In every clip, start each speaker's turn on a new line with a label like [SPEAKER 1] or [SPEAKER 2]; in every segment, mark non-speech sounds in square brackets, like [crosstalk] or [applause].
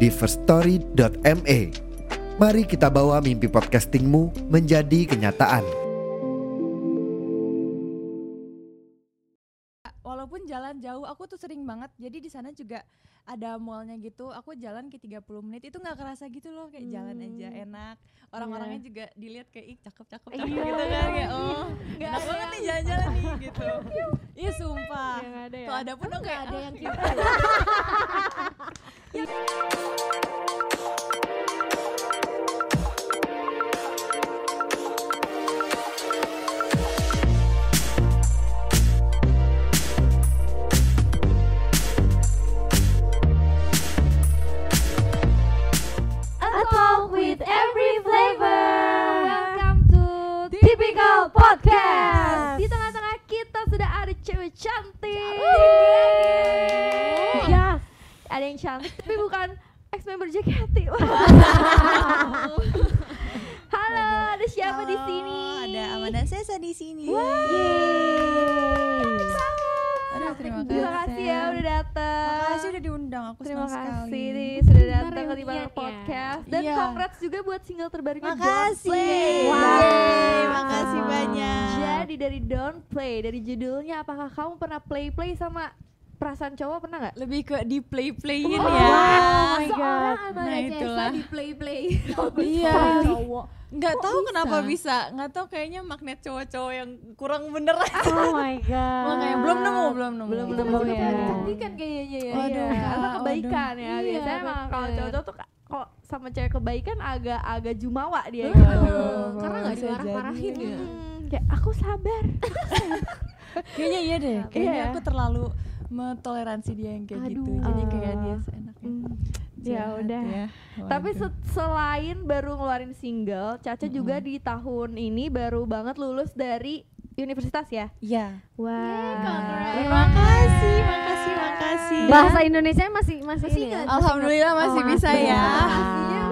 [SPEAKER 1] di firststory.me. Mari kita bawa mimpi podcastingmu menjadi kenyataan.
[SPEAKER 2] walaupun jalan jauh aku tuh sering banget jadi di sana juga ada mallnya gitu aku jalan ke 30 menit itu nggak kerasa gitu loh kayak jalan aja enak orang-orangnya juga dilihat kayak ih cakep cakep cakep
[SPEAKER 3] Iya.
[SPEAKER 2] gitu kan kayak oh enak banget nih jalan-jalan [laughs] nih gitu iya sumpah
[SPEAKER 3] Yang ada ya.
[SPEAKER 2] kalau ada pun dong kayak "Oh, gitu." ada yang [laughs]
[SPEAKER 3] A talk with every flavor. Welcome to Typical Podcast. Di tengah-tengah kita sudah ada cewek cantik. Yes. Ada yang cantik tapi bukan ex member JKT. Halo, ada siapa di sini?
[SPEAKER 2] ada Amanda Sesa di sini
[SPEAKER 3] Yeay.
[SPEAKER 2] Aduh, terima kasih
[SPEAKER 3] Terima kasih ya udah datang.
[SPEAKER 2] Makasih udah diundang aku
[SPEAKER 3] Terima
[SPEAKER 2] senang
[SPEAKER 3] kasih
[SPEAKER 2] sekali
[SPEAKER 3] nih sudah
[SPEAKER 4] Bentar
[SPEAKER 3] datang ke
[SPEAKER 4] reunian
[SPEAKER 3] Timbangan
[SPEAKER 4] ya.
[SPEAKER 3] Podcast dan
[SPEAKER 2] Iya.
[SPEAKER 3] congrats juga buat single terbarunya
[SPEAKER 2] Makasih.
[SPEAKER 3] Downplay.
[SPEAKER 2] Wow. Yeay, makasih banyak.
[SPEAKER 3] Jadi dari Downplay dari judulnya apakah kamu pernah play play sama perasaan cowok pernah nggak?
[SPEAKER 2] lebih ke di play playin
[SPEAKER 3] Oh,
[SPEAKER 2] ya
[SPEAKER 3] my
[SPEAKER 4] seorang
[SPEAKER 3] God.
[SPEAKER 4] Amara
[SPEAKER 2] Nah,
[SPEAKER 4] Jasa
[SPEAKER 2] itulah.
[SPEAKER 4] di play-play
[SPEAKER 2] [laughs] Iya.
[SPEAKER 4] Sama cowok.
[SPEAKER 2] nggak tahu kenapa bisa nggak tahu kayaknya magnet cowok-cowok yang kurang bener
[SPEAKER 5] Oh my god.
[SPEAKER 2] makanya belum nemu Ah. belum nemu iya.
[SPEAKER 3] Belum
[SPEAKER 4] Itu
[SPEAKER 3] nemu
[SPEAKER 4] masih
[SPEAKER 5] ya.
[SPEAKER 4] kecantikan kayaknya ya
[SPEAKER 2] Waduh,
[SPEAKER 3] Iya,
[SPEAKER 2] Kak,
[SPEAKER 3] karena
[SPEAKER 2] waduh.
[SPEAKER 3] kebaikan ya.
[SPEAKER 4] Iya,
[SPEAKER 3] Biasanya emang kalau
[SPEAKER 4] bener.
[SPEAKER 3] cowok-cowok tuh ka- kok sama cewek kebaikan agak agak jumawa dia. ya.
[SPEAKER 4] Betul.
[SPEAKER 2] Waduh,
[SPEAKER 4] Karena nggak
[SPEAKER 2] bisa
[SPEAKER 4] dimarah-marahin
[SPEAKER 2] jadi.
[SPEAKER 4] ya
[SPEAKER 3] Hmm, kayak aku sabar.
[SPEAKER 2] Kayaknya iya deh. Kayaknya
[SPEAKER 3] Iya.
[SPEAKER 2] aku terlalu mentoleransi dia yang kayak gitu.
[SPEAKER 3] Aduh.
[SPEAKER 2] Jadi kayak dia
[SPEAKER 3] Ah.
[SPEAKER 2] seenaknya.
[SPEAKER 3] Hmm. ya
[SPEAKER 2] jahat
[SPEAKER 3] udah.
[SPEAKER 2] ya.
[SPEAKER 3] Tapi
[SPEAKER 2] Waduh.
[SPEAKER 3] se- selain baru ngeluarin single, Caca juga di tahun ini baru banget lulus dari universitas ya.
[SPEAKER 2] ya.
[SPEAKER 5] Wah.
[SPEAKER 4] congrats.
[SPEAKER 2] Terima kasih, makasih, makasih.
[SPEAKER 5] Bahasa Indonesia masih masih ini
[SPEAKER 3] Iya.
[SPEAKER 5] ya?
[SPEAKER 4] Singkat.
[SPEAKER 2] Alhamdulillah masih bisa ya.
[SPEAKER 5] Alhamdulillah.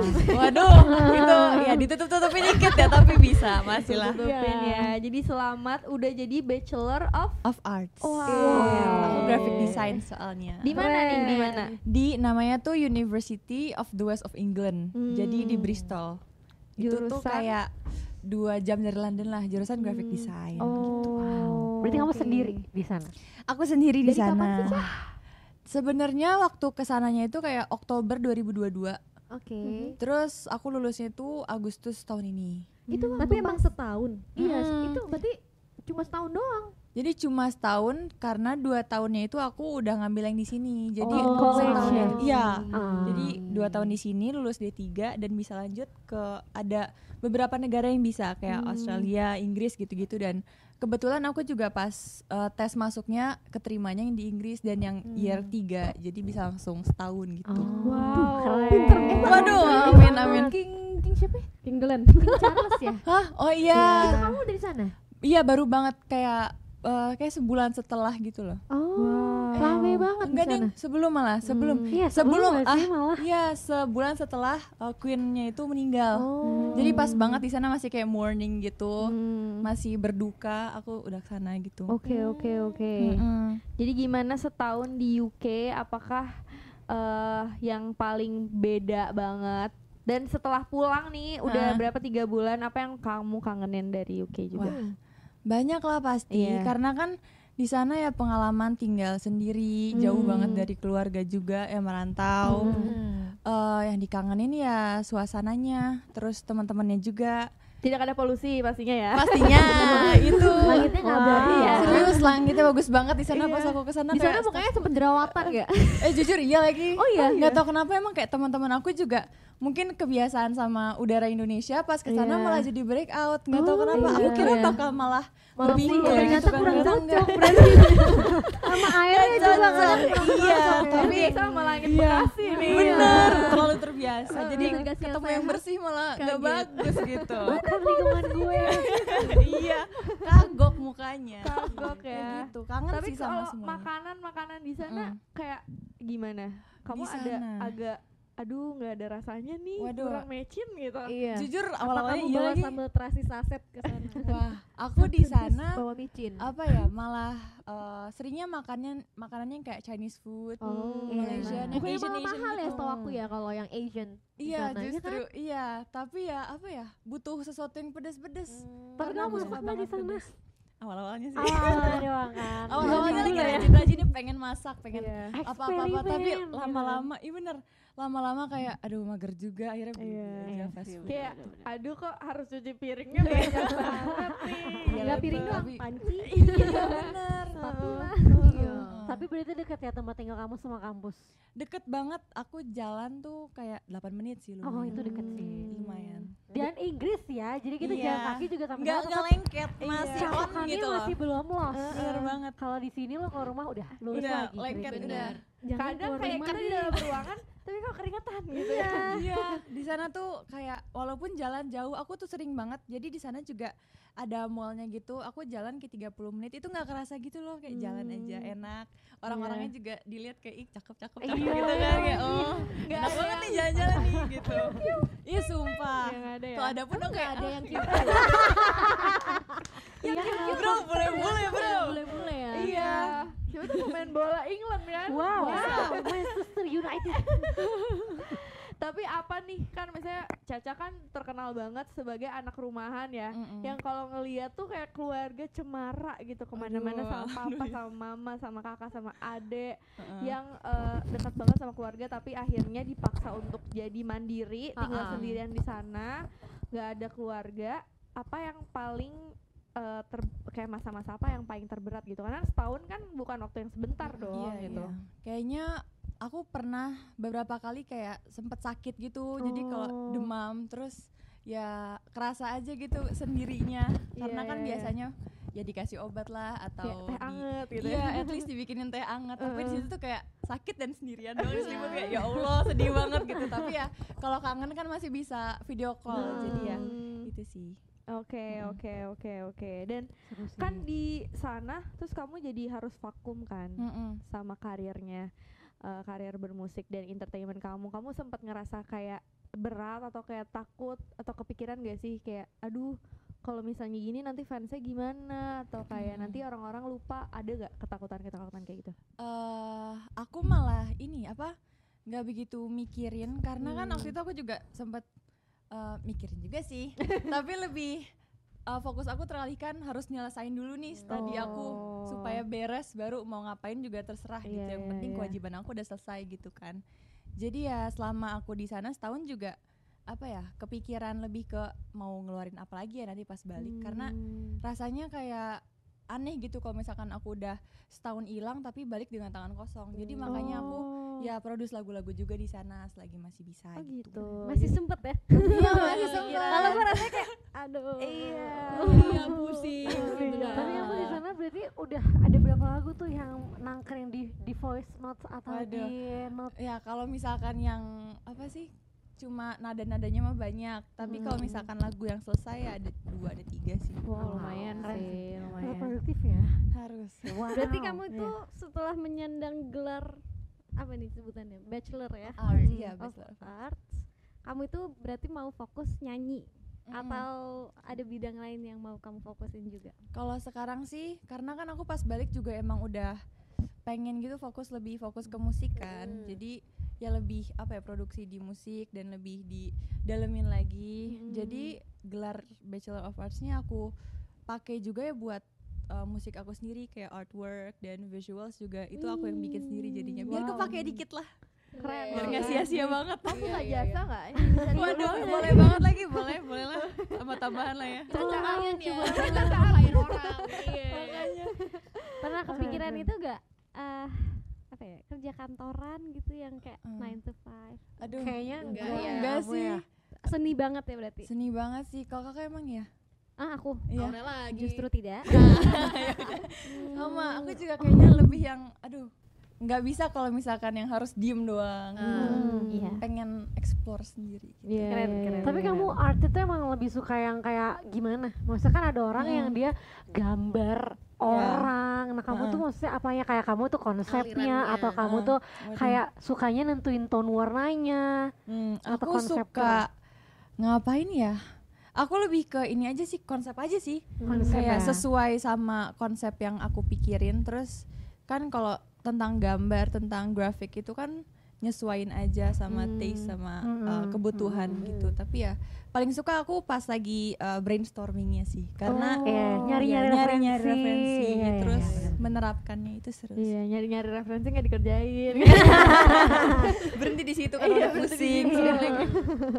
[SPEAKER 2] Waduh, itu ya ditutup-tutupin dikit ya, tapi bisa, masih lah.
[SPEAKER 3] Tutupin ya. Jadi selamat udah jadi Bachelor of
[SPEAKER 2] Of Arts. Iya, Aku graphic design soalnya.
[SPEAKER 3] di mana nih? Di mana?
[SPEAKER 2] di namanya tuh University of the West of England. Jadi di Bristol. Itu tuh
[SPEAKER 3] Jurusan?
[SPEAKER 2] kayak dua jam dari London lah jurusan graphic design. Gitu.
[SPEAKER 5] Oh. Berarti kamu sendiri di sana.
[SPEAKER 2] Aku sendiri di
[SPEAKER 3] Dari kapan
[SPEAKER 2] sana.
[SPEAKER 3] sih, Ca?
[SPEAKER 2] Sebenarnya waktu kesananya itu kayak Oktober 2022.
[SPEAKER 4] Oke
[SPEAKER 3] Mm-hmm.
[SPEAKER 2] Terus aku lulusnya itu Agustus tahun ini.
[SPEAKER 4] Itu
[SPEAKER 5] Hmm.
[SPEAKER 4] waktu
[SPEAKER 5] Tapi emang
[SPEAKER 4] pas setahun Iya
[SPEAKER 2] Hmm.
[SPEAKER 3] Mm-hmm.
[SPEAKER 4] itu berarti cuma setahun doang
[SPEAKER 2] Jadi cuma setahun karena dua tahunnya itu aku udah ngambil yang di sini. Jadi
[SPEAKER 5] Oh,
[SPEAKER 2] setahun
[SPEAKER 5] college ya?
[SPEAKER 2] yang- iya.
[SPEAKER 3] Hmm.
[SPEAKER 5] Ah.
[SPEAKER 2] Jadi dua tahun di sini lulus D3 dan bisa lanjut ke ada beberapa negara yang bisa kayak Australia, Inggris gitu-gitu dan kebetulan aku juga pas eh, tes masuknya keterimanya yang di Inggris dan yang year 3. Jadi bisa langsung setahun gitu.
[SPEAKER 5] Oh. Wow. Keren.
[SPEAKER 4] Pinter banget.
[SPEAKER 2] Eh, Waduh, amin amin.
[SPEAKER 4] King, King siapa ya?
[SPEAKER 5] King Glenn.
[SPEAKER 4] King Charles ya?
[SPEAKER 2] Hah? Oh
[SPEAKER 4] Itu
[SPEAKER 2] iya.
[SPEAKER 4] kamu dari sana?
[SPEAKER 2] Iya baru banget kayak eh, kayak sebulan setelah gitu loh.
[SPEAKER 4] Oh, rame banget di
[SPEAKER 2] Enggak deh,
[SPEAKER 4] sana
[SPEAKER 2] sebelum malah, sebelum.
[SPEAKER 5] Iya, sebelum nggak sih malah.
[SPEAKER 2] Iya, sebulan setelah uh, Queen-nya itu meninggal.
[SPEAKER 4] Oh
[SPEAKER 2] Jadi pas banget di sana masih kayak morning gitu.
[SPEAKER 4] Hmm.
[SPEAKER 3] Mm.
[SPEAKER 2] Masih berduka, aku udah ke sana gitu.
[SPEAKER 5] Oke,
[SPEAKER 3] Mm-hmm.
[SPEAKER 5] oke, oke.
[SPEAKER 2] Mm-mm.
[SPEAKER 3] Jadi gimana setahun di UK? Apakah eh, yang paling beda banget? Dan setelah pulang nih,
[SPEAKER 2] Ah.
[SPEAKER 3] udah berapa tiga bulan? Apa yang kamu kangenin dari UK juga?
[SPEAKER 2] Wah, banyak lah pasti
[SPEAKER 3] Iya.
[SPEAKER 2] karena kan di sana ya pengalaman tinggal sendiri jauh
[SPEAKER 4] Hmm.
[SPEAKER 2] banget dari keluarga juga ya merantau Eh, yang dikangenin ya suasananya terus teman-temannya juga
[SPEAKER 3] Tidak ada polusi pastinya ya.
[SPEAKER 4] [laughs]
[SPEAKER 2] pastinya itu
[SPEAKER 4] Langitnya nggak berani ya
[SPEAKER 2] serius langitnya bagus banget di sana pas aku kesana
[SPEAKER 4] Iya. Di sana
[SPEAKER 2] kayak-
[SPEAKER 4] mukanya sempet jerawatan gak?
[SPEAKER 2] eh jujur iya lagi
[SPEAKER 4] Oh iya?
[SPEAKER 2] nggak tahu kenapa emang kayak teman-teman aku juga mungkin kebiasaan sama udara Indonesia pas ke sana
[SPEAKER 4] Iya.
[SPEAKER 2] malah jadi break out nggak tahu
[SPEAKER 4] Oh,
[SPEAKER 2] kenapa aku
[SPEAKER 4] iya.
[SPEAKER 2] kira bakal malah gitu
[SPEAKER 4] Malah
[SPEAKER 2] bingung
[SPEAKER 4] iya. Ternyata kurang
[SPEAKER 2] enggak. [laughs]
[SPEAKER 5] Sama airnya juga
[SPEAKER 2] iya
[SPEAKER 5] kan.
[SPEAKER 3] Tapi
[SPEAKER 2] tapi
[SPEAKER 4] ya? Iya.
[SPEAKER 3] sama langit Bekasi nih.
[SPEAKER 2] bener terlalu biasa.
[SPEAKER 4] Eh,
[SPEAKER 2] Jadi
[SPEAKER 4] ngegas yang
[SPEAKER 2] ketemu yang
[SPEAKER 4] sehat,
[SPEAKER 2] bersih malah nggak
[SPEAKER 4] kaget.
[SPEAKER 2] bagus
[SPEAKER 4] [laughs]
[SPEAKER 2] gitu.
[SPEAKER 5] Bukan di teman gue.
[SPEAKER 2] iya, kagok mukanya.
[SPEAKER 3] Kagok ya.
[SPEAKER 2] Kayak gitu. Kangen
[SPEAKER 3] Tapi
[SPEAKER 2] sih sama
[SPEAKER 3] kalau
[SPEAKER 2] semuanya.
[SPEAKER 3] makanan-makanan di sana
[SPEAKER 2] Mm.
[SPEAKER 3] kayak gimana? Kamu
[SPEAKER 2] Di
[SPEAKER 3] ada
[SPEAKER 2] sana.
[SPEAKER 3] agak aduh nggak ada rasanya nih
[SPEAKER 2] Waduh.
[SPEAKER 3] kurang mecin gitu.
[SPEAKER 4] Iya.
[SPEAKER 2] Jujur
[SPEAKER 5] Apa
[SPEAKER 2] awal-awalnya
[SPEAKER 5] kamu
[SPEAKER 2] iya
[SPEAKER 5] bawa
[SPEAKER 2] lagi.
[SPEAKER 5] sambal terasi saset ke sana?
[SPEAKER 2] Wah, aku di sana
[SPEAKER 4] bawa micin.
[SPEAKER 2] apa ya malah eh, seringnya makannya makanannya yang kayak Chinese food,
[SPEAKER 5] Oh,
[SPEAKER 4] Iya.
[SPEAKER 2] Malaysian, yang
[SPEAKER 4] Bukannya
[SPEAKER 2] Asian,
[SPEAKER 4] malah
[SPEAKER 2] Asian
[SPEAKER 4] mahal ya
[SPEAKER 2] gitu.
[SPEAKER 4] setahu aku ya kalau yang Asian. di
[SPEAKER 5] Nah,
[SPEAKER 2] Iya
[SPEAKER 4] sana,
[SPEAKER 2] justru
[SPEAKER 4] kan?
[SPEAKER 2] iya tapi ya apa ya butuh sesuatu yang pedes-pedes Karena
[SPEAKER 5] Tapi kamu
[SPEAKER 2] aku
[SPEAKER 5] masak
[SPEAKER 2] suka
[SPEAKER 5] nggak di
[SPEAKER 2] banget [laughs]
[SPEAKER 5] sana?
[SPEAKER 2] pedes. awal-awalnya sih
[SPEAKER 5] Awal-awal doang kan.
[SPEAKER 2] awal-awalnya
[SPEAKER 5] Dulu
[SPEAKER 2] lagi
[SPEAKER 5] ya.
[SPEAKER 2] rajin-rajinnya pengen masak pengen
[SPEAKER 3] Iya.
[SPEAKER 2] apa-apa tapi
[SPEAKER 5] Eksperimen, gitu.
[SPEAKER 2] lama-lama iya bener lama-lama kayak aduh mager juga akhirnya beli
[SPEAKER 3] Iya.
[SPEAKER 2] aja
[SPEAKER 5] Iya
[SPEAKER 2] fast
[SPEAKER 5] sih,
[SPEAKER 2] food.
[SPEAKER 3] Kayak aduh kok harus cuci piringnya [laughs] banyak banget nih. Gitu.
[SPEAKER 2] Iya,
[SPEAKER 5] Nggak piring
[SPEAKER 2] betul.
[SPEAKER 5] doang,
[SPEAKER 2] Tapi-
[SPEAKER 5] panci,
[SPEAKER 2] iya bener
[SPEAKER 5] spatula.
[SPEAKER 2] Iya.
[SPEAKER 5] Tapi berarti dekat ya tempat tinggal kamu sama kampus.
[SPEAKER 2] deket banget aku jalan tuh kayak 8 menit sih lumayan
[SPEAKER 5] Oh, itu deket sih.
[SPEAKER 2] Hmm, lumayan
[SPEAKER 5] Dan Inggris ya, jadi kita
[SPEAKER 2] Iya.
[SPEAKER 5] jalan kaki juga sama
[SPEAKER 2] nggak nggak lengket masih
[SPEAKER 5] Iya.
[SPEAKER 2] on
[SPEAKER 5] Catokannya
[SPEAKER 2] gitu loh
[SPEAKER 5] masih belum lost.
[SPEAKER 2] Bener banget.
[SPEAKER 5] Kalau di sini lo ke rumah udah lurus
[SPEAKER 2] Udah,
[SPEAKER 5] lagi.
[SPEAKER 2] lengket
[SPEAKER 5] kiri.
[SPEAKER 2] udah.
[SPEAKER 4] Jangan
[SPEAKER 3] Kadang
[SPEAKER 4] keluar
[SPEAKER 3] kayak
[SPEAKER 4] rumah
[SPEAKER 3] kita di
[SPEAKER 4] deh.
[SPEAKER 3] dalam ruangan tapi kok keringetan gitu ya.
[SPEAKER 2] Iya, di sana tuh kayak walaupun jalan jauh, aku tuh sering banget. Jadi di sana juga ada mallnya gitu. Aku jalan ke 30 menit itu nggak kerasa gitu loh, kayak jalan aja enak. Orang-orangnya juga dilihat kayak ih cakep-cakep cakep
[SPEAKER 5] Iya.
[SPEAKER 2] gitu kan kayak oh, enak banget nih jalan-jalan nih gitu. Iya sumpah.
[SPEAKER 3] Yang ada ya.
[SPEAKER 2] Kalau ada pun enggak
[SPEAKER 4] ada
[SPEAKER 2] [laughs]
[SPEAKER 4] yang cute.
[SPEAKER 2] gitu, Bro, boleh boleh bro.
[SPEAKER 4] Boleh-boleh ya.
[SPEAKER 3] Iya. Siapa tuh pemain bola England kan?
[SPEAKER 5] Wow, wow. Manchester United.
[SPEAKER 3] Tapi apa nih kan misalnya Caca kan terkenal banget sebagai anak rumahan ya.
[SPEAKER 2] Mm-mm.
[SPEAKER 3] Yang kalau ngeliat tuh kayak keluarga cemara gitu kemana-mana
[SPEAKER 2] Aduh,
[SPEAKER 3] sama papa,
[SPEAKER 2] aduh, iya.
[SPEAKER 3] sama mama, sama kakak, sama adik
[SPEAKER 2] Heeh.
[SPEAKER 3] yang eh, dekat banget sama keluarga tapi akhirnya dipaksa untuk jadi mandiri, tinggal
[SPEAKER 4] Ah-ah.
[SPEAKER 3] sendirian di sana, nggak ada keluarga. Apa yang paling eh, ter- kayak masa-masa apa yang paling terberat gitu? Karena setahun kan bukan waktu yang sebentar dong
[SPEAKER 2] Iya,
[SPEAKER 3] gitu.
[SPEAKER 2] iya. Kayaknya aku pernah beberapa kali kayak sempet sakit gitu. Jadi kalau
[SPEAKER 3] Oh.
[SPEAKER 2] demam terus ya kerasa aja gitu sendirinya. Karena
[SPEAKER 3] Iya,
[SPEAKER 2] kan
[SPEAKER 3] iya, iya.
[SPEAKER 2] biasanya ya dikasih obat lah
[SPEAKER 3] Kayak
[SPEAKER 2] atau
[SPEAKER 3] teh
[SPEAKER 2] di-
[SPEAKER 3] anget gitu.
[SPEAKER 2] Iya, at least dibikinin teh anget. Tapi di
[SPEAKER 3] Heeh. Iya.
[SPEAKER 2] situ tuh kayak sakit dan sendirian doang di selimut kayak ya Allah sedih banget gitu. Tapi ya kalau kangen kan masih bisa video call. Jadi ya Hmm.
[SPEAKER 3] Hmm.
[SPEAKER 2] itu sih.
[SPEAKER 3] Oke,
[SPEAKER 2] Mm-mm.
[SPEAKER 3] oke, oke, oke. Dan
[SPEAKER 5] Seru
[SPEAKER 2] Gitu.
[SPEAKER 5] sih.
[SPEAKER 3] kan di sana terus kamu jadi harus vakum kan
[SPEAKER 2] Mm-mm.
[SPEAKER 3] sama karirnya. eh, karir bermusik dan entertainment kamu. Kamu sempat ngerasa kayak berat atau kayak takut atau kepikiran gak sih kayak aduh kalau misalnya gini nanti fansnya gimana atau kayak
[SPEAKER 2] Hmm.
[SPEAKER 3] nanti orang-orang lupa ada gak ketakutan-ketakutan kayak gitu?
[SPEAKER 2] eh aku malah ini apa nggak begitu mikirin karena kan
[SPEAKER 3] Hmm.
[SPEAKER 2] waktu itu aku juga sempat eh, mikirin juga
[SPEAKER 3] [laughs]
[SPEAKER 2] sih tapi lebih eh, fokus aku teralihkan harus nyelesain dulu nih studi aku
[SPEAKER 3] Hmm. Oh.
[SPEAKER 2] supaya beres baru mau ngapain juga terserah gitu
[SPEAKER 3] Iya,
[SPEAKER 2] yang
[SPEAKER 3] iya,
[SPEAKER 2] penting
[SPEAKER 3] iya.
[SPEAKER 2] kewajiban aku udah selesai gitu kan jadi ya selama aku di sana setahun juga apa ya kepikiran lebih ke mau ngeluarin apa lagi ya nanti pas balik karena
[SPEAKER 3] Hmm.
[SPEAKER 2] rasanya kayak aneh gitu kalau misalkan aku udah setahun hilang tapi balik dengan tangan kosong. Jadi makanya aku
[SPEAKER 3] Hmm. Oh.
[SPEAKER 2] ya produce lagu-lagu juga di sana selagi masih bisa
[SPEAKER 3] Oh
[SPEAKER 2] gitu.
[SPEAKER 3] gitu.
[SPEAKER 5] masih sempet ya.
[SPEAKER 2] Iya,
[SPEAKER 3] [laughs]
[SPEAKER 2] masih sempat.
[SPEAKER 5] Kalau gue rasanya kayak aduh.
[SPEAKER 3] Iya.
[SPEAKER 5] Oh.
[SPEAKER 2] [laughs] Iya, pusing. gitu kan. bener.
[SPEAKER 5] Tapi kamu di sana berarti udah ada berapa lagu tuh yang nangkring di di voice notes atau
[SPEAKER 2] Waduh.
[SPEAKER 5] di note
[SPEAKER 2] Ya, kalau misalkan yang apa sih? Cuma nada-nadanya mah banyak, tapi kalau misalkan lagu yang selesai ya ada dua ada tiga sih.
[SPEAKER 3] Hmm. Wah, lumayan
[SPEAKER 5] Keren
[SPEAKER 3] sih,
[SPEAKER 5] Sangat
[SPEAKER 3] lumayan.
[SPEAKER 5] produktif ya.
[SPEAKER 2] Harus.
[SPEAKER 5] Wow.
[SPEAKER 4] Berarti kamu
[SPEAKER 6] iya.
[SPEAKER 4] tuh setelah menyandang gelar apa nih sebutannya? Bachelor ya.
[SPEAKER 2] Art,
[SPEAKER 3] Hmm.
[SPEAKER 2] iya,
[SPEAKER 4] of
[SPEAKER 2] Bachelor
[SPEAKER 3] Oh,
[SPEAKER 2] of
[SPEAKER 4] Arts. Kamu itu berarti mau fokus nyanyi
[SPEAKER 2] Hmm.
[SPEAKER 6] Iya.
[SPEAKER 4] atau ada bidang lain yang mau kamu fokusin juga?
[SPEAKER 2] Kalau sekarang sih, karena kan aku pas balik juga emang udah pengen gitu fokus lebih fokus ke musik kan. Jadi ya lebih apa ya produksi di musik dan lebih didalemin lagi. Jadi gelar Bachelor of Arts-nya aku pakai juga ya buat uh, musik aku sendiri kayak artwork dan visuals juga itu aku yang bikin sendiri jadinya. Biar
[SPEAKER 3] Wow.
[SPEAKER 2] kepake dikit lah.
[SPEAKER 3] Keren.
[SPEAKER 5] Iya.
[SPEAKER 2] Biar
[SPEAKER 3] banget.
[SPEAKER 2] nggak sia-sia banget.
[SPEAKER 3] Kamu nggak jasa nggak?
[SPEAKER 2] [laughs] Waduh, boleh banget lagi, boleh, boleh lah. Sama tambahan lah ya.
[SPEAKER 4] lumayan ya.
[SPEAKER 6] orang
[SPEAKER 4] Pernah
[SPEAKER 5] Keren,
[SPEAKER 4] kepikiran
[SPEAKER 5] keren.
[SPEAKER 4] itu gak? Eh apa ya kerja kantoran gitu yang kayak
[SPEAKER 2] Hmm.
[SPEAKER 4] 9 to 5
[SPEAKER 2] Aduh.
[SPEAKER 5] Kayaknya enggak,
[SPEAKER 2] enggak, iya.
[SPEAKER 5] ya, Bu
[SPEAKER 2] sih.
[SPEAKER 5] ya.
[SPEAKER 4] seni banget ya berarti
[SPEAKER 2] Seni banget sih. Kalau kakak emang ya?
[SPEAKER 4] ah aku
[SPEAKER 2] Iya. [laughs]
[SPEAKER 6] Aurel lagi
[SPEAKER 4] [laughs] justru tidak
[SPEAKER 2] sama aku juga kayaknya lebih yang aduh nggak bisa kalau misalkan yang harus diem doang
[SPEAKER 3] Hmm.
[SPEAKER 4] Iya.
[SPEAKER 2] pengen explore sendiri gitu.
[SPEAKER 3] Iya,
[SPEAKER 5] Keren,
[SPEAKER 3] iya,
[SPEAKER 5] keren.
[SPEAKER 3] iya,
[SPEAKER 5] Tapi
[SPEAKER 3] iya.
[SPEAKER 5] kamu art itu emang lebih suka yang kayak gimana? Maksudnya kan ada orang yang dia gambar orang. Nah, kamu tuh maksudnya apanya kayak kamu tuh konsepnya
[SPEAKER 6] Alirannya.
[SPEAKER 5] atau kamu
[SPEAKER 2] Ah,
[SPEAKER 5] tuh
[SPEAKER 2] Waduh.
[SPEAKER 5] kayak sukanya nentuin tone warnanya.
[SPEAKER 2] Hmm,
[SPEAKER 5] atau
[SPEAKER 2] aku
[SPEAKER 5] konsepnya?
[SPEAKER 2] suka ngapain ya aku lebih ke ini aja sih konsep aja sih
[SPEAKER 5] Konsep
[SPEAKER 2] kayak
[SPEAKER 5] ya.
[SPEAKER 2] sesuai sama konsep yang aku pikirin terus kan kalau tentang gambar tentang grafik itu kan nyesuain aja sama
[SPEAKER 5] Hmm.
[SPEAKER 2] taste sama
[SPEAKER 5] Hmm,
[SPEAKER 2] uh,
[SPEAKER 5] hmm,
[SPEAKER 2] kebutuhan
[SPEAKER 5] hmm,
[SPEAKER 2] gitu tapi ya paling suka aku pas lagi uh, brainstormingnya sih karena
[SPEAKER 5] Oh, iya, nyari-nyari
[SPEAKER 2] ya, nyari-nyari
[SPEAKER 5] referensi. Iya, iya,
[SPEAKER 2] terus
[SPEAKER 5] iya, benar.
[SPEAKER 2] menerapkannya itu seru sih.
[SPEAKER 3] Iya, nyari-nyari referensi nggak dikerjain.
[SPEAKER 2] [laughs] berhenti di
[SPEAKER 5] [laughs]
[SPEAKER 2] situ
[SPEAKER 5] Iya,
[SPEAKER 2] kan udah pusing sebenarnya.